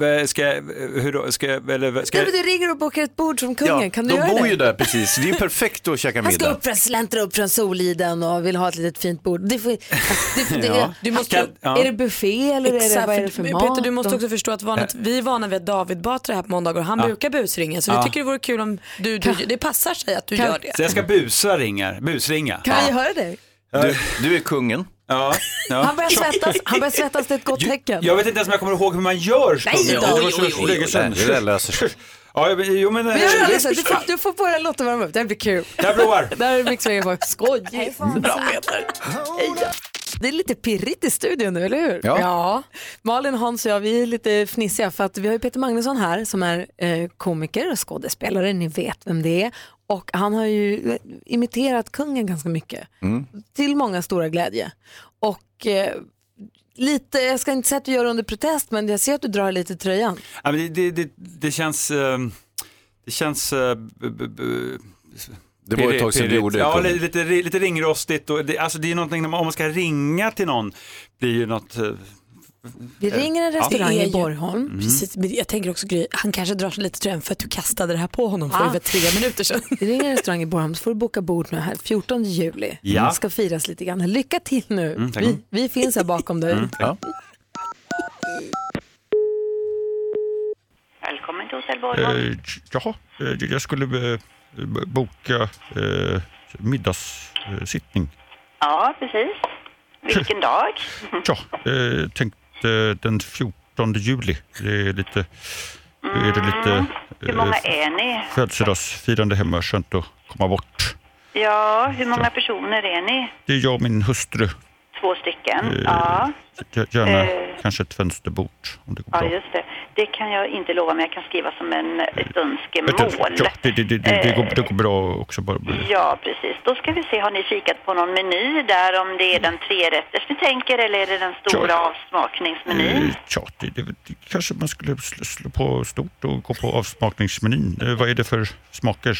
Speaker 12: Ja. Eh, Ska, jag- hur då, ska, jag- eller, ska,
Speaker 1: Nej,
Speaker 12: jag-
Speaker 1: men du ringer och bokar ett bord som kungen, kan du
Speaker 6: de
Speaker 1: göra
Speaker 6: bor
Speaker 1: det?
Speaker 6: ju där precis. Det är ju perfekt att käka
Speaker 1: Han ska
Speaker 6: middag.
Speaker 1: upp från, släntra upp från Soliden och vill ha ett litet fint bord. Det får, det får,
Speaker 6: [LAUGHS]
Speaker 1: det,
Speaker 6: Ja.
Speaker 1: du måste,
Speaker 6: Kan- ja.
Speaker 1: Är det buffé eller är det,
Speaker 4: Exakt,
Speaker 1: vad är
Speaker 4: för
Speaker 1: det för mat?
Speaker 4: Peter du måste
Speaker 1: Och-
Speaker 4: också förstå att vanet, vi är vana vid att David Batra är här på måndagar och han
Speaker 12: Ja.
Speaker 4: brukar busringa så
Speaker 12: Ja.
Speaker 4: vi tycker det vore kul om du, du det passar sig att du gör det.
Speaker 12: så jag ska busa ringar, busringa.
Speaker 1: Kan vi höra dig?
Speaker 12: Du,
Speaker 6: är kungen.
Speaker 12: Ja. ja.
Speaker 1: Han börjar svettas, han börjar svettas det är ett gott tecken.
Speaker 12: Jag vet inte ens om jag kommer ihåg hur man gör
Speaker 1: Nej,
Speaker 12: kungen.
Speaker 1: då.
Speaker 12: Det var så-
Speaker 1: Oj, oj, oj, oj.
Speaker 12: det är så-
Speaker 6: Nej, det där löser sig.
Speaker 12: Ja, jag- jo, men,
Speaker 1: Men jag gör det så här, du får, du får börja låta värma upp, det här blir kul.
Speaker 12: Jag provar.
Speaker 1: Det här är Mix Megapol, skojigt.
Speaker 4: Bra Peter.
Speaker 1: Det är lite pirrigt i studion nu, eller hur?
Speaker 4: Ja.
Speaker 1: Malin, Hans och jag, vi är lite fnissiga för att vi har ju Peter Magnusson här som är eh, komiker och skådespelare, ni vet vem det är. Och han har ju eh, imiterat kungen ganska mycket,
Speaker 21: Mm.
Speaker 1: till många stora glädje. Och eh, lite, jag ska inte säga att du gör det under protest, men jag ser att du drar lite i tröjan.
Speaker 12: Ja, men det, det, det, det känns... eh, Det känns... eh, b- b- b-
Speaker 6: Det var ett tag sedan du
Speaker 12: pirrigt.
Speaker 6: gjorde det,
Speaker 12: Ja,
Speaker 6: kungen.
Speaker 12: li- lite, ri- lite ringrostigt. Och det, alltså det är någonting, när man- om man ska ringa till någon, blir ju något... eh,
Speaker 1: Vi
Speaker 12: eh,
Speaker 1: ringer en restaurang
Speaker 12: Det är
Speaker 1: i
Speaker 12: ju-
Speaker 1: Borgholm.
Speaker 12: Mm.
Speaker 4: Precis, men jag tänker också Gry, han kanske drar sig lite tröjan för att du kastade det här på honom för
Speaker 1: Ah.
Speaker 4: över tre minuter
Speaker 1: [LAUGHS]
Speaker 4: sedan.
Speaker 1: Vi ringer en restaurang i Borgholm så får du boka bord nu här 14 juli.
Speaker 4: Ja.
Speaker 1: Det ska firas lite grann. Lycka till nu.
Speaker 4: Mm, tack. Mm.
Speaker 1: vi, vi finns här bakom dig.
Speaker 6: Mm.
Speaker 16: Välkommen till Hotell Borgholm.
Speaker 22: Eh, jaha, eh, jag skulle eh, b- boka eh, middagssittning.
Speaker 16: Ja, precis. Vilken dag?
Speaker 22: Ja, eh, tänkte den 14 juli. Det är lite... Är det lite
Speaker 16: Mm, Hur många
Speaker 22: eh,
Speaker 16: är ni?
Speaker 22: Födelsedagsfirande hemma, skönt att komma bort.
Speaker 16: Ja, hur många personer är ni?
Speaker 22: Det är jag och min hustru.
Speaker 16: Två stycken?
Speaker 22: Eh,
Speaker 16: Ja,
Speaker 22: Gärna
Speaker 16: Eh.
Speaker 22: kanske ett fönsterbord om det går
Speaker 16: ja
Speaker 22: bra.
Speaker 16: just det. Det kan jag inte lova, men jag kan skriva som en, ett
Speaker 22: Vet du,
Speaker 16: önskemål.
Speaker 22: ja, det, det, det,
Speaker 16: Eh.
Speaker 22: det, går, det går bra också. Bara.
Speaker 16: Ja, precis. Då ska vi se, har ni kikat på någon meny där om det är den trerätters ni tänker eller är det den stora avsmakningsmenyn?
Speaker 22: Eh, Tja, det, det, det, kanske man skulle slå, slå på stort och gå på avsmakningsmenyn. Eh, vad är det för smaker?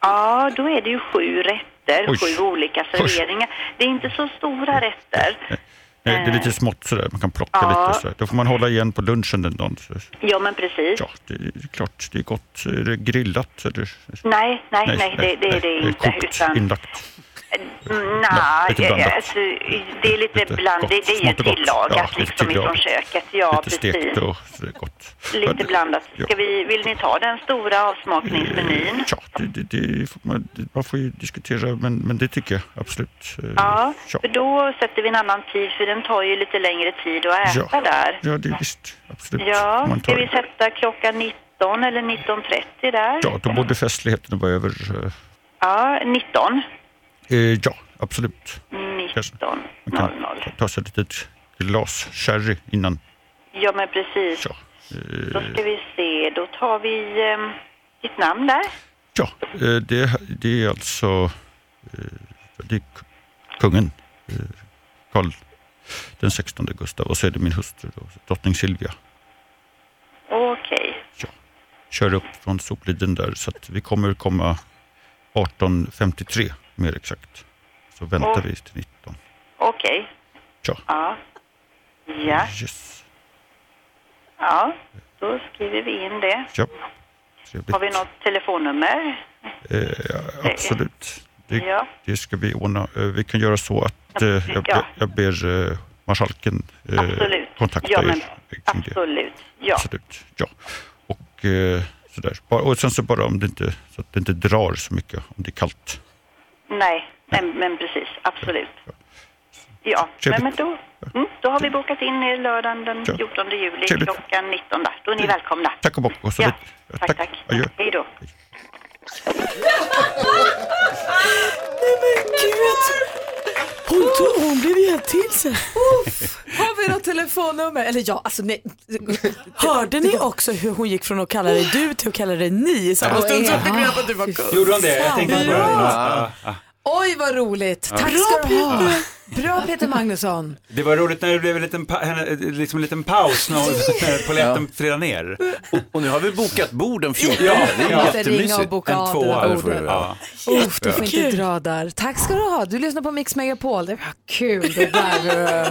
Speaker 16: Ja, då är det ju sju rätter,
Speaker 22: Oj.
Speaker 16: sju olika serveringar. Det är inte så stora rätter.
Speaker 22: Nej, Eh, det är lite smått sådär, man kan plocka
Speaker 16: Eh. Ja.
Speaker 22: lite och sådär. Då får man hålla igen på lunchen den dagen. Så-
Speaker 16: Ja, men precis.
Speaker 22: Ja, det är klart, det är gott. Är det grillat? Eller?
Speaker 16: Nej, nej, nej, det, det är det inte.
Speaker 22: Kokt,
Speaker 16: Utan, Mm,
Speaker 22: inlagt. Ja,
Speaker 16: nej,
Speaker 22: lite blandat.
Speaker 16: alltså, det är lite blandat. Det, det är ju
Speaker 22: smått och gott. Ja,
Speaker 16: tillagat
Speaker 22: lite
Speaker 16: liksom ifrån
Speaker 22: tillagat.
Speaker 16: köket. Ja,
Speaker 22: lite
Speaker 16: precis.
Speaker 22: stekt och sådär gott.
Speaker 16: Lite blandat. Ska vi, vill ni ta den stora avsmakningsmenyn?
Speaker 22: Ja, det, det, det får man, det, man får ju diskutera, men, men det tycker jag absolut. Eh,
Speaker 16: Ja, för då sätter vi en annan tid för den tar ju lite längre tid att äta
Speaker 22: ja.
Speaker 16: där.
Speaker 22: Ja, det är visst. Absolut.
Speaker 16: Ja,
Speaker 22: Man
Speaker 16: ska
Speaker 22: tar-
Speaker 16: vi sätta klockan 19 eller 19.30 där?
Speaker 22: Ja, då borde festligheterna vara över. eh,
Speaker 16: Ja, 19.
Speaker 22: Eh, ja, absolut.
Speaker 16: 19.
Speaker 22: Man kan ta- ta sig ett litet glas sherry innan.
Speaker 16: Ja, men precis. Då
Speaker 22: Eh,
Speaker 16: ska vi se, då tar vi eh, ditt namn där.
Speaker 22: ja, eh, det, det är alltså eh, det är k- kungen, eh, Karl den 16 Gustav och så är det min hustru, då, drottning Silvia.
Speaker 16: Okej.
Speaker 22: Kör upp från Sopliden där så att vi kommer komma 18.53 mer exakt. Så väntar
Speaker 16: Åh.
Speaker 22: vi till 19.
Speaker 16: Okej.
Speaker 22: Ja.
Speaker 16: Ja. Ja.
Speaker 22: Yes.
Speaker 16: ja, då skriver vi in det.
Speaker 22: Ja. Trevligt.
Speaker 16: Har vi något telefonnummer?
Speaker 22: Eh, absolut. Det,
Speaker 16: Ja.
Speaker 22: det ska vi ordna. Eh, vi kan göra så att eh, jag,
Speaker 16: Ja.
Speaker 22: be, jag ber eh, marskalken eh,
Speaker 16: Absolut.
Speaker 22: kontakta
Speaker 16: Ja, men
Speaker 22: er.
Speaker 16: absolut. Ja.
Speaker 22: Absolut. Ja. Och, eh, sådär. Bara, och sen så bara om det inte, så att det inte drar så mycket, om det är kallt.
Speaker 16: Nej, men, men precis. Absolut. Ja, men,
Speaker 22: Trevligt.
Speaker 16: men då, mm, då har vi bokat in er lördagen den
Speaker 22: Ja.
Speaker 16: 14 juli
Speaker 22: Trevligt.
Speaker 16: klockan 19. Där. Då är ni välkomna.
Speaker 22: Tack och bock. Och så
Speaker 16: Ja.
Speaker 22: lite-
Speaker 16: Tack, tack.
Speaker 22: Adjö. [LAUGHS]
Speaker 16: Hej då.
Speaker 4: Nej men gud! Hon, tog, hon blev ju helt till sig.
Speaker 1: Har vi något telefonnummer? Eller ja, alltså nej.
Speaker 4: Hörde ni också hur hon gick från att kalla dig du till att kalla dig ni i samma
Speaker 1: Ja,
Speaker 4: stund? Så
Speaker 1: ja.
Speaker 4: jag fick reda på att du var kung.
Speaker 12: Gjorde hon det? Jag tänkte på det.
Speaker 4: Ja.
Speaker 12: Ja, ja.
Speaker 1: Oj vad roligt.
Speaker 12: Ja.
Speaker 1: Tack ska du ha. Bra Peter Magnusson.
Speaker 12: Det var roligt när det blev en liten, pa- henne- liksom en liten paus när,
Speaker 6: [LAUGHS]
Speaker 12: när polletten trillade ner. Och, nu har vi bokat bord den
Speaker 6: 14.
Speaker 12: Ja,
Speaker 6: Det är
Speaker 12: ja.
Speaker 6: jättemysigt. Ringa och boka
Speaker 12: en
Speaker 1: av
Speaker 12: tvåa.
Speaker 1: det där bordet.
Speaker 12: Ja.
Speaker 1: Uff, du får
Speaker 12: Ja.
Speaker 1: inte dra där. Tack ska du ha. Du lyssnar på Mix Megapol. Det var kul det [LAUGHS] där.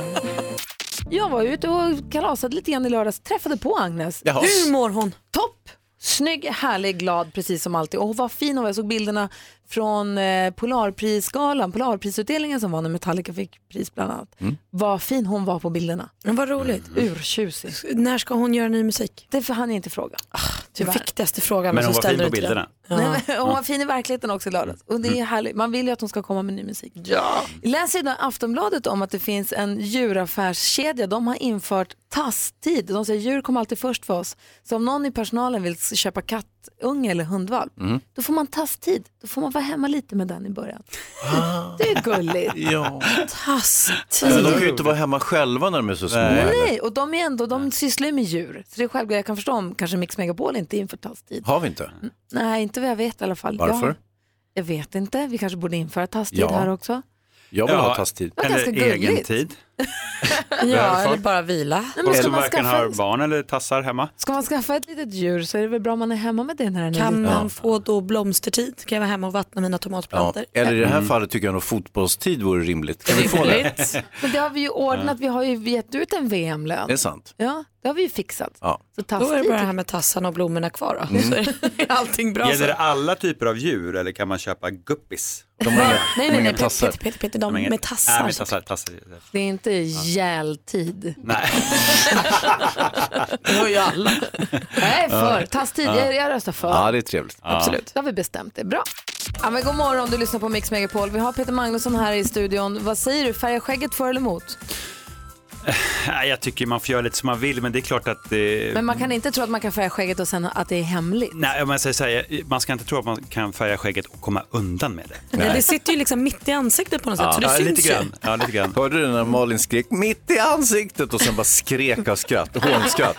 Speaker 1: Jag var ute och kalasade lite grann i lördags. Träffade på Agnes.
Speaker 4: Jaha. Hur
Speaker 1: mår hon? Topp! Snygg, härlig, glad precis som alltid. Och hon var fin hon var. Jag såg bilderna från eh, Polarprisgalan, Polarprisutdelningen som var när Metallica fick pris bland annat.
Speaker 12: Mm.
Speaker 1: Vad fin hon var på bilderna.
Speaker 4: Men vad roligt.
Speaker 1: Mm. Urtjusig.
Speaker 4: När ska hon göra ny musik?
Speaker 1: Ah, Det får han inte fråga.
Speaker 4: Den
Speaker 1: tyvärr.
Speaker 4: viktigaste frågan.
Speaker 12: Men
Speaker 4: så
Speaker 12: hon var fin
Speaker 4: ställer
Speaker 12: på
Speaker 4: du inte
Speaker 12: bilderna. Mm.
Speaker 4: den. Ja.
Speaker 1: Nej, men hon var fin i verkligheten också i lördags. Och det är härligt. Man vill ju att hon ska komma med ny musik. Ja. Läser idag i Aftonbladet om att det finns en djuraffärskedja. De har infört tasstid. De säger djur kommer alltid först för oss. Så om någon i personalen vill köpa kattunge eller hundvalp,
Speaker 6: Mm.
Speaker 1: då får man tasstid. Då får man vara hemma lite med den i början. Det är gulligt.
Speaker 6: Ah. Ja.
Speaker 1: Tasstid.
Speaker 6: Men de kan ju inte vara hemma själva när de är så små. heller.
Speaker 1: Nej, och de, är ändå, de sysslar ju med djur. Så det är självklart, jag kan förstå om kanske Mix Megapol inte inför tasstid.
Speaker 6: Har vi inte?
Speaker 1: Nej, inte vad jag vet i alla fall.
Speaker 6: Varför?
Speaker 1: Jag, jag vet inte. Vi kanske borde införa tasstid
Speaker 6: Ja.
Speaker 1: här också.
Speaker 6: Jag vill
Speaker 12: Ja,
Speaker 6: ha tasstid.
Speaker 1: Det var ganska eller gulligt. egen
Speaker 12: tid.
Speaker 4: Ja, eller bara vila.
Speaker 1: Nej, men
Speaker 12: De
Speaker 1: ska,
Speaker 12: som
Speaker 1: man
Speaker 12: varken har
Speaker 1: skaffa,
Speaker 12: barn eller tassar hemma.
Speaker 1: ska man skaffa ett litet djur så är det väl bra om man är hemma med det när den är
Speaker 4: Kan
Speaker 1: liten.
Speaker 4: man få då blomstertid? Kan jag vara hemma och vattna mina
Speaker 6: Ja.
Speaker 4: tomatplantor?
Speaker 6: Eller i det här
Speaker 1: Mm.
Speaker 6: fallet tycker jag nog fotbollstid vore rimligt. Kan vi få det?
Speaker 1: Men det har vi ju ordnat. Vi har ju gett ut en VM-lön.
Speaker 6: Det är sant.
Speaker 1: Ja, det har vi ju fixat.
Speaker 6: Ja.
Speaker 1: Så
Speaker 4: Då är det
Speaker 1: tasstid.
Speaker 4: bara det här med tassarna och blommorna kvar då.
Speaker 12: Mm.
Speaker 4: Så är [LAUGHS] allting bra.
Speaker 12: Gäller
Speaker 4: sen.
Speaker 12: det alla typer av djur eller kan man köpa guppis?
Speaker 6: De har inga,
Speaker 4: Nej, nej, nej, Peter, Peter, Peter, Peter, de med
Speaker 12: Nej,
Speaker 4: tassar.
Speaker 12: med tassar, tassar.
Speaker 1: Det är inte gältid.
Speaker 12: Nej. [LAUGHS]
Speaker 1: Det har ju alla. Nej, för. Tasstid.
Speaker 6: Ja.
Speaker 1: Jag, jag röstar för.
Speaker 6: Ja, det är trevligt.
Speaker 1: Då har vi bestämt det. Bra. Ja, men god morgon, du lyssnar på Mix Megapol. Vi har Peter Magnusson här i studion. Vad säger du, färga skägget för eller emot?
Speaker 12: Nej, Jag tycker man får göra lite som man vill, men det är klart att... eh,
Speaker 1: Men man kan inte tro att man kan färga skägget och sen att det är hemligt.
Speaker 12: Nej, om jag säger så här, man ska inte tro att man kan färga skägget och komma undan med det.
Speaker 4: Nej. Det sitter ju liksom mitt i ansiktet på något sätt, så det
Speaker 12: Ja,
Speaker 4: syns
Speaker 12: lite
Speaker 4: ju.
Speaker 12: grann. Ja, lite grann.
Speaker 6: Hörde du när Malin skrek mitt i ansiktet och sen bara skrek av skratt, hånskratt,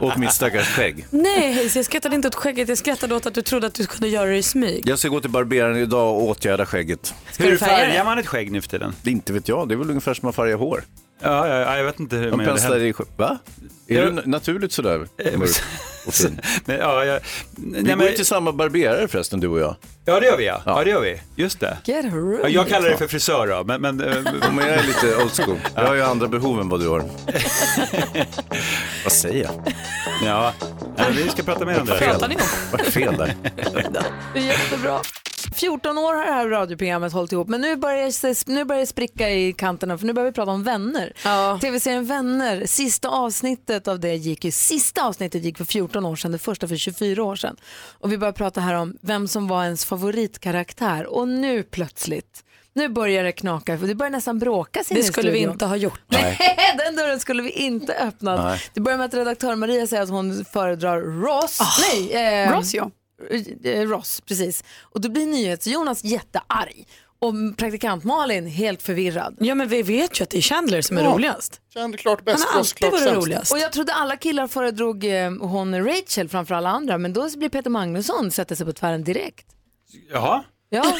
Speaker 6: åt mitt stackars skägg.
Speaker 4: Nej, Hayes, jag skrattade inte åt skägget. Jag skrattade åt att du trodde att du kunde göra det i smyg.
Speaker 6: Jag ska gå till barberaren idag och åtgärda skägget.
Speaker 4: du Hur färga färgar det?
Speaker 12: man ett skägg nu för tiden?
Speaker 6: Inte vet jag, det är väl ungefär som man färgar hår.
Speaker 12: Ja, ja, ja, jag vet inte hur
Speaker 6: De
Speaker 12: man gör det
Speaker 6: penslar
Speaker 12: heller.
Speaker 6: i skägg. Va? Är
Speaker 12: Jag-
Speaker 6: du na- naturligt sådär
Speaker 12: Eh,
Speaker 6: mörk och
Speaker 12: [LAUGHS]
Speaker 6: fin?
Speaker 12: Nej, ja, jag...
Speaker 6: Vi går ju till samma barberare förresten, du och jag.
Speaker 12: Ja, det gör vi ja. ja. det gör vi. Just det.
Speaker 1: Get a room.
Speaker 12: Ja, jag kallar det för frisör då,
Speaker 6: [LAUGHS]
Speaker 12: men... men eh,
Speaker 6: Men jag är lite old school. Jag har ju andra behov än vad du har. vad säger jag?
Speaker 12: Ja, nej, vi ska prata mer om det.
Speaker 6: Fel.
Speaker 1: Pratar ni om?
Speaker 6: Vad fel där?
Speaker 1: Det är jättebra. 14 år har det här radioprogrammet hållit ihop, men nu börjar, det- nu börjar det spricka i kanterna för nu börjar vi prata om vänner. Tv-serien Vänner, sista avsnittet av det gick ju, sista avsnittet gick för 14 år sedan, det första för 24 år sedan. Och vi börjar prata här om vem som var ens favoritkaraktär och nu plötsligt, nu börjar det knaka, för det börjar nästan bråkas inne
Speaker 4: Det
Speaker 1: i
Speaker 4: skulle vi
Speaker 1: studion.
Speaker 4: inte ha gjort.
Speaker 1: Nej, [LAUGHS] den dörren skulle vi inte öppna.
Speaker 4: Nej.
Speaker 1: Det börjar med att redaktör Maria säger att hon föredrar Ross. Nej, eh,
Speaker 23: Ross, ja.
Speaker 1: eh, Ross, precis. Och då blir NyhetsJonas jättearg. Och praktikant Malin helt förvirrad.
Speaker 4: Ja men vi vet ju att det är Chandler som är
Speaker 1: Ja.
Speaker 4: roligast.
Speaker 13: Chandler klart
Speaker 4: bäst, Han har Ross alltid klart varit sämst. roligast.
Speaker 1: Och jag trodde alla killar föredrog eh, hon Rachel framför alla andra. Men då blir Peter Magnusson sätter sig på tvären direkt.
Speaker 12: Jaha.
Speaker 1: [LAUGHS] Ja.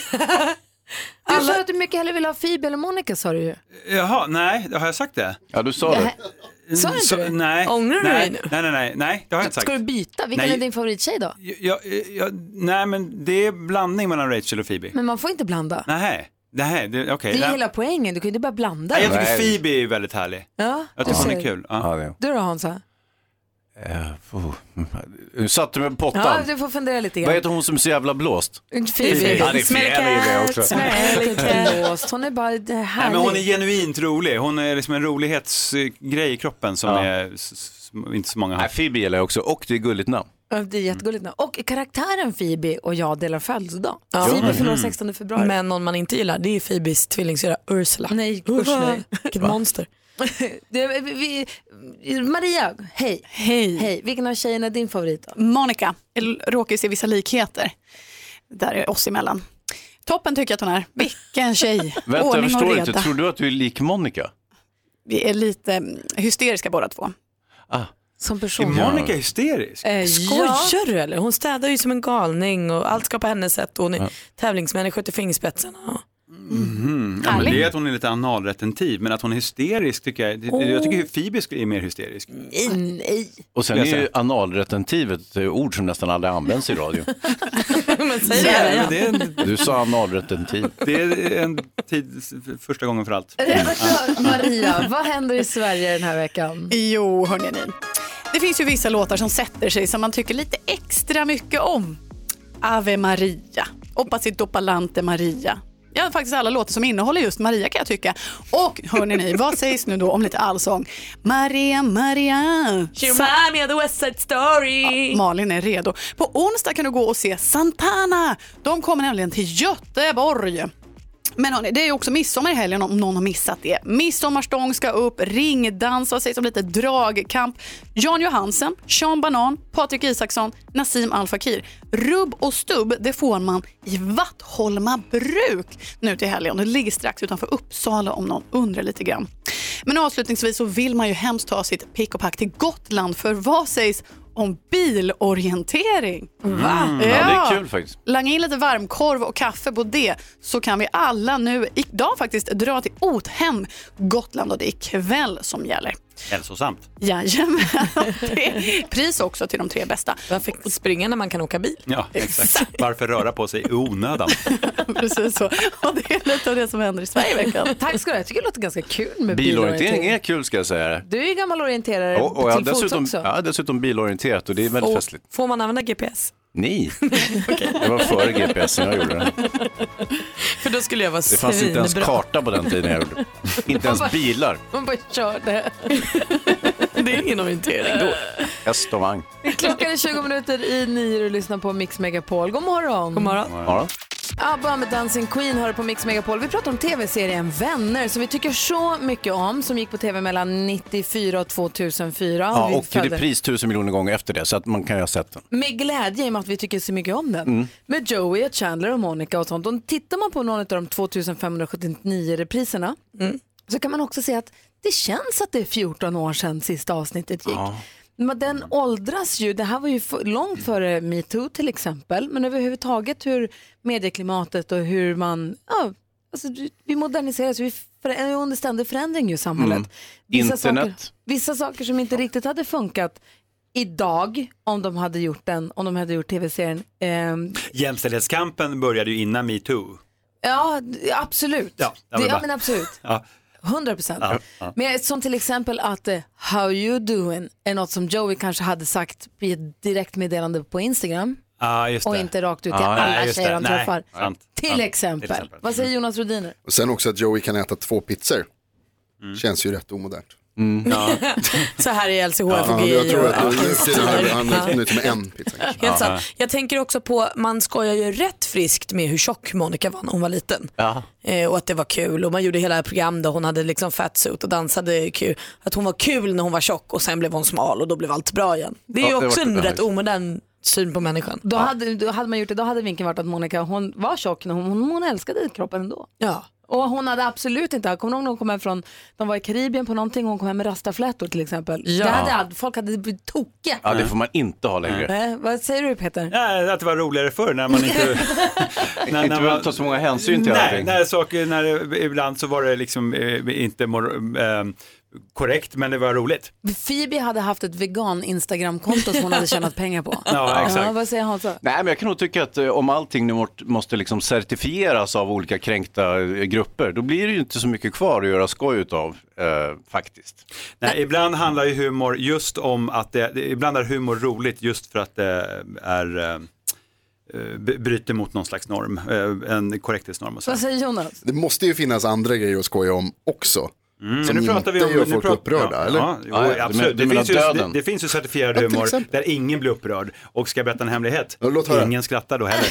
Speaker 1: Du sa att du mycket hellre ville ha Phoebe eller Monica sa du ju.
Speaker 12: Jaha, nej, har jag sagt det?
Speaker 6: Ja, du sa
Speaker 1: det. det. Sa du inte det?
Speaker 12: Nej.
Speaker 1: Ångrar du dig
Speaker 12: nej,
Speaker 1: nu?
Speaker 12: nej, nej, nej, nej, det har jag inte sagt.
Speaker 1: Ska du byta? Vilken
Speaker 12: Nej.
Speaker 1: är din favorittjej då?
Speaker 12: Jag, jag, nej, men det är blandning mellan Rachel och Phoebe.
Speaker 1: Men man får inte blanda.
Speaker 12: Nej, nej, det- okej.
Speaker 1: Det är ju
Speaker 12: Nej.
Speaker 1: hela poängen, du kan ju inte bara blanda.
Speaker 12: Nej, jag tycker
Speaker 1: det.
Speaker 12: Phoebe är väldigt härlig.
Speaker 1: Ja,
Speaker 12: Jag tycker
Speaker 1: du
Speaker 12: hon är
Speaker 1: ser.
Speaker 12: kul. Ja.
Speaker 1: Du då Hansa?
Speaker 6: Eh, oh. Du satte mig på
Speaker 1: Ja,
Speaker 6: pottan.
Speaker 1: du får fundera lite
Speaker 6: Vad
Speaker 1: grann.
Speaker 6: heter hon som är så jävla blåst?
Speaker 1: Phoebe.
Speaker 6: Ja, det är fjäder i det också.
Speaker 1: Blåst. Hon är bara
Speaker 12: Nej,
Speaker 1: härlig.
Speaker 12: men hon är genuint rolig. Hon är liksom en rolighetsgrej i kroppen som är, s- s- inte så många har.
Speaker 6: Nej, Phoebe gillar jag också och det är gulligt namn.
Speaker 1: Ja, Det är jättegulligt namn. Och karaktären Phoebe och jag delar födelsedag.
Speaker 4: Ja.
Speaker 1: Phoebe fyller
Speaker 6: Mm.
Speaker 4: Mhm.
Speaker 1: 16 februari.
Speaker 4: Men någon man inte gillar det är Phoebes tvillingsyrra Ursula.
Speaker 1: Nej, usch [LAUGHS] nej.
Speaker 4: Vilket
Speaker 1: Va?
Speaker 4: monster.
Speaker 1: Det, vi, vi, Maria, hej.
Speaker 23: Hej.
Speaker 1: hej. Vilken av tjejerna är din favorit? Då?
Speaker 23: Monica, jag råkar ju se vissa likheter där är oss emellan. Toppen tycker jag att hon är. Vilken tjej.
Speaker 6: Vänta, jag
Speaker 23: Ordning och
Speaker 6: förstår
Speaker 23: reda.
Speaker 6: inte. Tror du att du är lik Monica?
Speaker 23: Vi är lite mm, hysteriska båda två.
Speaker 6: Ah.
Speaker 1: Som
Speaker 12: Är
Speaker 1: person. Eh,
Speaker 12: Monica hysterisk?
Speaker 4: Skojar du eller? Hon städar ju som en galning och allt ska på hennes sätt och hon är tävlingsmänniska till fingerspetsarna.
Speaker 12: Mhm. Ja, men
Speaker 4: Härligt.
Speaker 12: det är att hon är lite analretentiv, men att hon är hysterisk tycker jag,
Speaker 4: Åh.
Speaker 12: jag tycker Phoebe är mer hysterisk.
Speaker 1: Nej.
Speaker 6: Och sen är
Speaker 12: Skulle jag
Speaker 6: ju analretentivet ett ord som nästan aldrig används i radio.
Speaker 4: [LAUGHS] men säg
Speaker 12: Ja,
Speaker 4: det.
Speaker 12: men det är en-
Speaker 6: Du sa analretentiv. Mm,
Speaker 12: Det är en tid, första gången för
Speaker 1: [LAUGHS]
Speaker 12: allt. Mm.
Speaker 1: Redaktör Maria, vad händer i Sverige den här veckan?
Speaker 23: Jo, hörni ni. Det finns ju vissa låtar som sätter sig som man tycker lite extra mycket om. Ave Maria, Opacit Dopalante Maria. Ja, faktiskt alla låtar som innehåller just Maria kan jag tycka. Och hörni ni, vad sägs nu då om lite allsång? Maria, Maria.
Speaker 4: She remind me of the West Side Story.
Speaker 23: Ja, Malin är redo. På onsdag kan du gå och se Santana. De kommer nämligen till Göteborg. Men hörni, det är ju också midsommar i helgen om någon har missat det. Midsommarstång ska upp, ringdans, vad sägs om lite dragkamp? Jan Johansen, Sean Banan, Patrik Isaksson, Nassim Al Fakir. Rubb och stubb, det får man i Vattholma bruk nu till helgen. Det ligger strax utanför Uppsala om någon undrar lite grann. Men avslutningsvis så vill man ju hemskt ta sitt pick och pack till Gotland för vad sägs om bilorientering?
Speaker 6: Mm, ja, det är kul faktiskt.
Speaker 23: Langa in lite varmkorv och kaffe på det så kan vi alla nu idag faktiskt dra till Othem, Gotland och det är kväll som gäller.
Speaker 12: Hälsosamt.
Speaker 23: Jajamän, [LAUGHS] det är pris också till de tre bästa.
Speaker 4: Varför inte springa när man kan åka bil?
Speaker 12: Ja, exakt. Varför röra på sig i
Speaker 1: [LAUGHS]
Speaker 12: onödan?
Speaker 23: Precis så. Och det är lite av det som händer i Sverige i veckan.
Speaker 1: [LAUGHS] Tack ska du ha, jag tycker det låter ganska kul med
Speaker 6: Bilorientering är kul ska jag säga.
Speaker 1: Du är ju gammal orienterare
Speaker 6: Och, och jag har
Speaker 1: till fots
Speaker 6: dessutom,
Speaker 1: också.
Speaker 6: jag har dessutom bilorienterat och det är väldigt
Speaker 4: Och
Speaker 6: festligt.
Speaker 4: får man använda GPS?
Speaker 6: Nej, det var före GPSen jag gjorde det.
Speaker 4: För då skulle jag vara
Speaker 6: Det fanns inte ens
Speaker 4: svinbra.
Speaker 6: karta på den tiden jag gjorde det. Inte
Speaker 4: [LAUGHS]
Speaker 6: ens bilar,
Speaker 1: [LAUGHS] Man bara körde.
Speaker 23: [LAUGHS]
Speaker 4: Det är ingen orientering [LAUGHS] då.
Speaker 6: häst och vagn.
Speaker 1: Klockan är 20 minuter i nio och du lyssnar på Mix Megapol. God morgon. God
Speaker 4: morgon.
Speaker 6: Ja.
Speaker 1: ABBA med Dancing Queen har du på Mix Megapol. Vi pratar om tv-serien Vänner som vi tycker så mycket om som gick på tv mellan 94 och 2004.
Speaker 6: Ja,
Speaker 1: vi
Speaker 6: och i
Speaker 1: följde-
Speaker 6: repris tusen miljoner gånger efter det, så att man kan ju ha sett den.
Speaker 1: Med glädje i och med att vi tycker så mycket om den.
Speaker 6: Mm.
Speaker 1: Med Joey, och Chandler och Monica och sånt. Och tittar man på någon av de 2579 repriserna
Speaker 6: Mm.
Speaker 1: så kan man också se att det känns att det är 14 år sedan sista avsnittet gick. Men den åldras ju. Det här var ju f- långt före metoo till exempel. Men överhuvudtaget hur medieklimatet och hur man... Ja, alltså, vi moderniseras. Vi för- är under ständig förändring ju i samhället.
Speaker 6: Mm.
Speaker 1: Saker,
Speaker 6: Internet.
Speaker 1: vissa saker som inte riktigt hade funkat idag om de hade gjort den, om de hade gjort tv-serien. Ehm,
Speaker 12: Jämställdhetskampen började ju innan metoo.
Speaker 1: ja, d- absolut.
Speaker 12: Ja, ja,
Speaker 1: det,
Speaker 12: men
Speaker 1: ja
Speaker 12: bara-
Speaker 1: men absolut.
Speaker 12: Ja.
Speaker 1: 100 procent.
Speaker 12: Ja, ja.
Speaker 1: Men som till exempel att eh, how you doing är något som Joey kanske hade sagt i ett direktmeddelande på Instagram
Speaker 12: Ja, just
Speaker 1: och
Speaker 12: det.
Speaker 1: inte rakt ut till
Speaker 12: Ja, nej,
Speaker 1: alla
Speaker 12: just det.
Speaker 1: tjejer han
Speaker 12: Nej,
Speaker 1: träffar.
Speaker 12: sant.
Speaker 1: Till,
Speaker 13: Ja, till
Speaker 1: exempel.
Speaker 13: exempel.
Speaker 1: Vad säger Jonas Rhodiner?
Speaker 13: Och sen också att Joey kan äta två pizzor.
Speaker 12: Mm.
Speaker 13: Känns ju rätt omodernt.
Speaker 1: [LAUGHS]
Speaker 4: Så här är LCHF
Speaker 13: Ja,
Speaker 4: och GI.
Speaker 13: jag tror att
Speaker 4: och-
Speaker 13: nu för tiden har han
Speaker 4: Ja.
Speaker 13: nöjt med en pizza. kanske.
Speaker 4: Helt sant. Jag tänker också på, man skojar ju rätt friskt med hur tjock Monica var när hon var liten. Eh, och att det var kul och man gjorde hela program där hon hade liksom fatsuit och dansade kul. Att hon var kul när hon var tjock och sen blev hon smal och då blev allt bra igen. Det är
Speaker 1: Ja,
Speaker 4: ju
Speaker 1: det
Speaker 4: också
Speaker 1: var-
Speaker 4: en
Speaker 1: ja,
Speaker 4: rätt
Speaker 1: just.
Speaker 4: omodern syn på människan.
Speaker 1: Då, hade, då hade man gjort det, då hade vinkeln varit att Monica, hon var tjock, när hon, hon, hon älskade kroppen ändå.
Speaker 4: Ja.
Speaker 1: Och hon hade absolut inte, jag kommer du ihåg när hon kom hem från, de var i Karibien på någonting, hon kom hem med rastaflätor till exempel.
Speaker 6: Ja.
Speaker 1: Det hade, all- folk hade blivit tokiga.
Speaker 6: Ja, det får man inte ha längre.
Speaker 1: Nej, vad säger du Peter?
Speaker 12: Nej, att det var roligare förr när man
Speaker 13: [LAUGHS]
Speaker 12: inte...
Speaker 6: inte behöver ta så många hänsyn till
Speaker 12: nej,
Speaker 6: allting.
Speaker 12: när saker, när, det- ibland så var det liksom eh, inte mor, eh, korrekt, men det var roligt.
Speaker 1: Phoebe hade haft ett vegan Instagram-konto som hon hade tjänat pengar på.
Speaker 6: [LAUGHS] Ja, exakt.
Speaker 1: vad säger Hansa?
Speaker 6: Nej, men jag kan nog tycka att eh, om allting nu mort- måste liksom certifieras av olika kränkta eh, grupper, då blir det ju inte så mycket kvar att göra skoj utav, eh, faktiskt.
Speaker 12: Nej, ibland handlar ju humor just om att det, det- ibland är humor roligt just för att det är eh, eh, b- bryter mot någon slags norm, eh, en korrekthetsnorm och så.
Speaker 1: Vad säger Jonas?
Speaker 13: Det måste ju finnas andra grejer att skoja om också.
Speaker 12: Mm,
Speaker 13: Som
Speaker 12: nu
Speaker 13: inte
Speaker 12: pratar vi om,
Speaker 13: gör
Speaker 12: nu
Speaker 13: folk
Speaker 12: pratar-
Speaker 13: upprörda,
Speaker 12: ja,
Speaker 13: eller?
Speaker 12: Ja, jo, absolut. Det finns, ju, det, det finns ju certifierad
Speaker 13: Ja, till
Speaker 12: humor
Speaker 13: exempel.
Speaker 12: där ingen blir upprörd. Och ska jag berätta en hemlighet?
Speaker 13: höra.
Speaker 12: ingen skrattar då heller.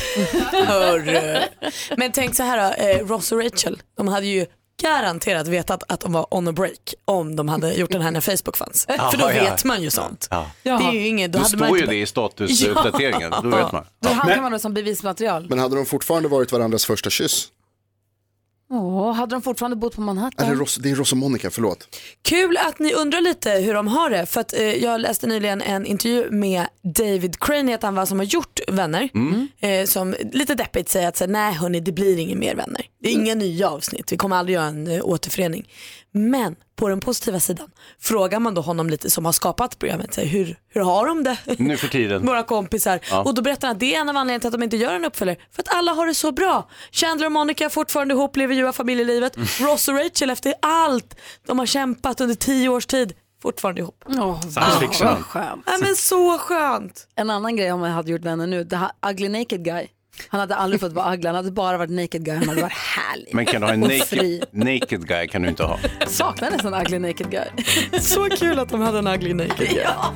Speaker 4: Hörru. [LAUGHS] Men tänk så här då, eh, Ross och Rachel, de hade ju garanterat vetat att de var on a break om de hade gjort den här när Facebook fanns. För då
Speaker 6: Jaha, ja.
Speaker 4: vet man ju sånt.
Speaker 6: Ja.
Speaker 4: Det är ju inget, då
Speaker 6: Då
Speaker 4: hade man
Speaker 6: står ju
Speaker 4: inte-
Speaker 6: det i statusuppdateringen, då vet man.
Speaker 1: Då hade man det som bevismaterial.
Speaker 13: Men hade de fortfarande varit varandras första kyss?
Speaker 1: Åh, hade de fortfarande bott på Manhattan?
Speaker 13: Eller Ross, det är Ross och Monica, förlåt.
Speaker 4: Kul att ni undrar lite hur de har det för att eh, jag läste nyligen en intervju med David Crane heter han var som har gjort Vänner.
Speaker 6: Mm.
Speaker 4: Eh, som lite deppigt säger att så här, nej hörni det blir inget mer Vänner. Det är inga nya avsnitt, vi kommer aldrig göra en eh, återförening. Men på den positiva sidan frågar man då honom lite som har skapat programmet, så här, hur, hur har de det?
Speaker 6: Nu för tiden.
Speaker 4: Våra kompisar.
Speaker 6: Ja.
Speaker 4: Och då berättar han att det är en av anledningarna till att de inte gör en uppföljare. För att alla har det så bra. Chandler och Monica är fortfarande ihop, lever ljuva familjelivet.
Speaker 6: Mm.
Speaker 4: Ross och Rachel efter allt de har kämpat under tio års tid, fortfarande ihop.
Speaker 1: Ah, vad
Speaker 4: skönt.
Speaker 1: skönt.
Speaker 4: Nej, men så skönt.
Speaker 1: En annan grej om jag hade gjort vänner nu, det här ugly naked guy. Han hade aldrig fått vara ugly, han hade bara varit naked guy, han hade varit härlig.
Speaker 6: Men kan du ha en
Speaker 1: [LAUGHS] och fri.
Speaker 6: naked, naked guy kan du inte ha.
Speaker 1: Saknar nästan ugly naked guy.
Speaker 4: så kul att de hade en ugly naked guy.
Speaker 1: ja,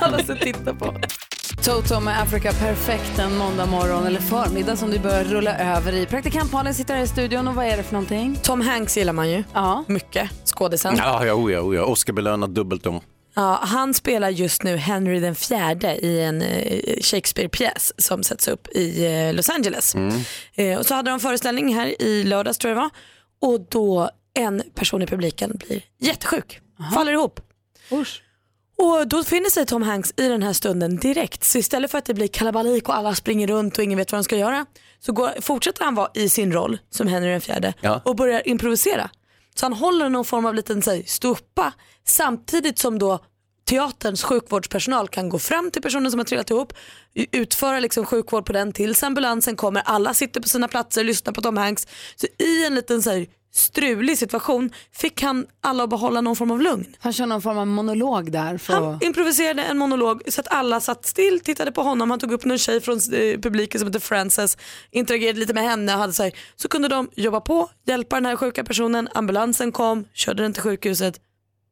Speaker 1: alla ska titta på. Toto med Africa Perfect en måndag morgon eller förmiddag som du börjar rulla över i. Praktikant Malin sitter här i studion och vad är det för någonting?
Speaker 4: Tom Hanks gillar man ju.
Speaker 1: Ja.
Speaker 4: Mycket. Skådisen.
Speaker 6: Ja, oh, ja, oja, oja. Oscarbelönad dubbelt om.
Speaker 4: Ja, han spelar just nu Henry den fjärde i en eh, Shakespeare-pjäs som sätts upp i eh, Los Angeles. Eh, och så hade de föreställning här i lördags tror jag det var. Och då en person i publiken blir jättesjuk, faller ihop. Och då finner sig Tom Hanks i den här stunden direkt. Så istället för att det blir kalabalik och alla springer runt och ingen vet vad de ska göra. Så går, fortsätter han vara i sin roll som Henry den fjärde
Speaker 6: Ja.
Speaker 4: och börjar improvisera. Så han håller någon form av liten så här, ståuppa samtidigt som då teaterns sjukvårdspersonal kan gå fram till personen som har trillat ihop, u- utföra liksom sjukvård på den tills ambulansen kommer, alla sitter på sina platser, lyssnar på Tom Hanks. Så i en liten så här, strulig situation fick han alla att behålla någon form av lugn.
Speaker 1: Han kör någon form av monolog där. För...
Speaker 4: Han improviserade en monolog så att alla satt still, tittade på honom. Han tog upp någon tjej från eh, publiken som heter Frances, interagerade lite med henne och hade så, här, så kunde de jobba på, hjälpa den här sjuka personen. Ambulansen kom, körde den till sjukhuset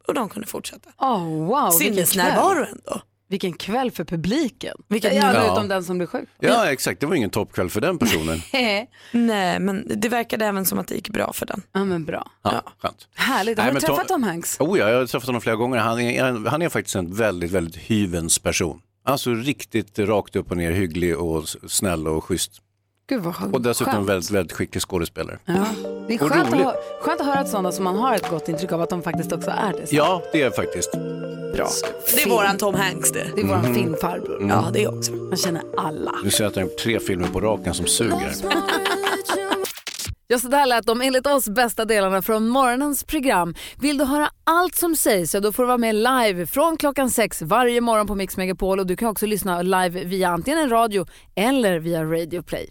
Speaker 4: och de kunde fortsätta.
Speaker 1: Oh, wow, vilken kväll.
Speaker 4: Sinnesnärvaro ändå.
Speaker 1: Vilken kväll för publiken.
Speaker 4: Vilken-
Speaker 1: ja,
Speaker 6: Ja.
Speaker 1: Utom den som blir sjuk.
Speaker 6: Ja, exakt. Det var ingen toppkväll för den personen.
Speaker 4: [LAUGHS] Nej, men det verkade även som att det gick bra för den.
Speaker 1: Ja, men bra.
Speaker 6: Ja, skönt.
Speaker 1: Härligt. Har
Speaker 6: Nej,
Speaker 1: du
Speaker 6: men
Speaker 1: träffat
Speaker 6: Tom-
Speaker 1: Tom Hanks?
Speaker 6: Oh ja, jag har träffat honom flera gånger. Han är, han är faktiskt en väldigt, väldigt hyvens person. Alltså riktigt rakt upp och ner, hygglig och s- snäll och schysst.
Speaker 1: Gud vad skönt.
Speaker 6: Och dessutom väldigt, väldigt skicklig skådespelare.
Speaker 1: Ja. Det är
Speaker 6: Och
Speaker 1: skönt att,
Speaker 6: roligt.
Speaker 1: hö- skönt att höra att sådana som man har ett gott intryck av att de faktiskt också är det.
Speaker 6: Ja, det är faktiskt.
Speaker 1: Bra.
Speaker 4: Det är våran Tom Hanks det.
Speaker 1: Det är våran
Speaker 6: Mhm.
Speaker 1: filmfarbror.
Speaker 6: Mm. Ja, det är
Speaker 1: också. Man känner alla.
Speaker 6: Du ser att jag har gjort tre filmer på raken som suger.
Speaker 15: Ja, så där lät de enligt oss bästa delarna från morgonens program. Vill du höra allt som sägs så då får du vara med live från klockan sex varje morgon på Mix Megapol och du kan också lyssna live via antingen en radio eller via Radio Play.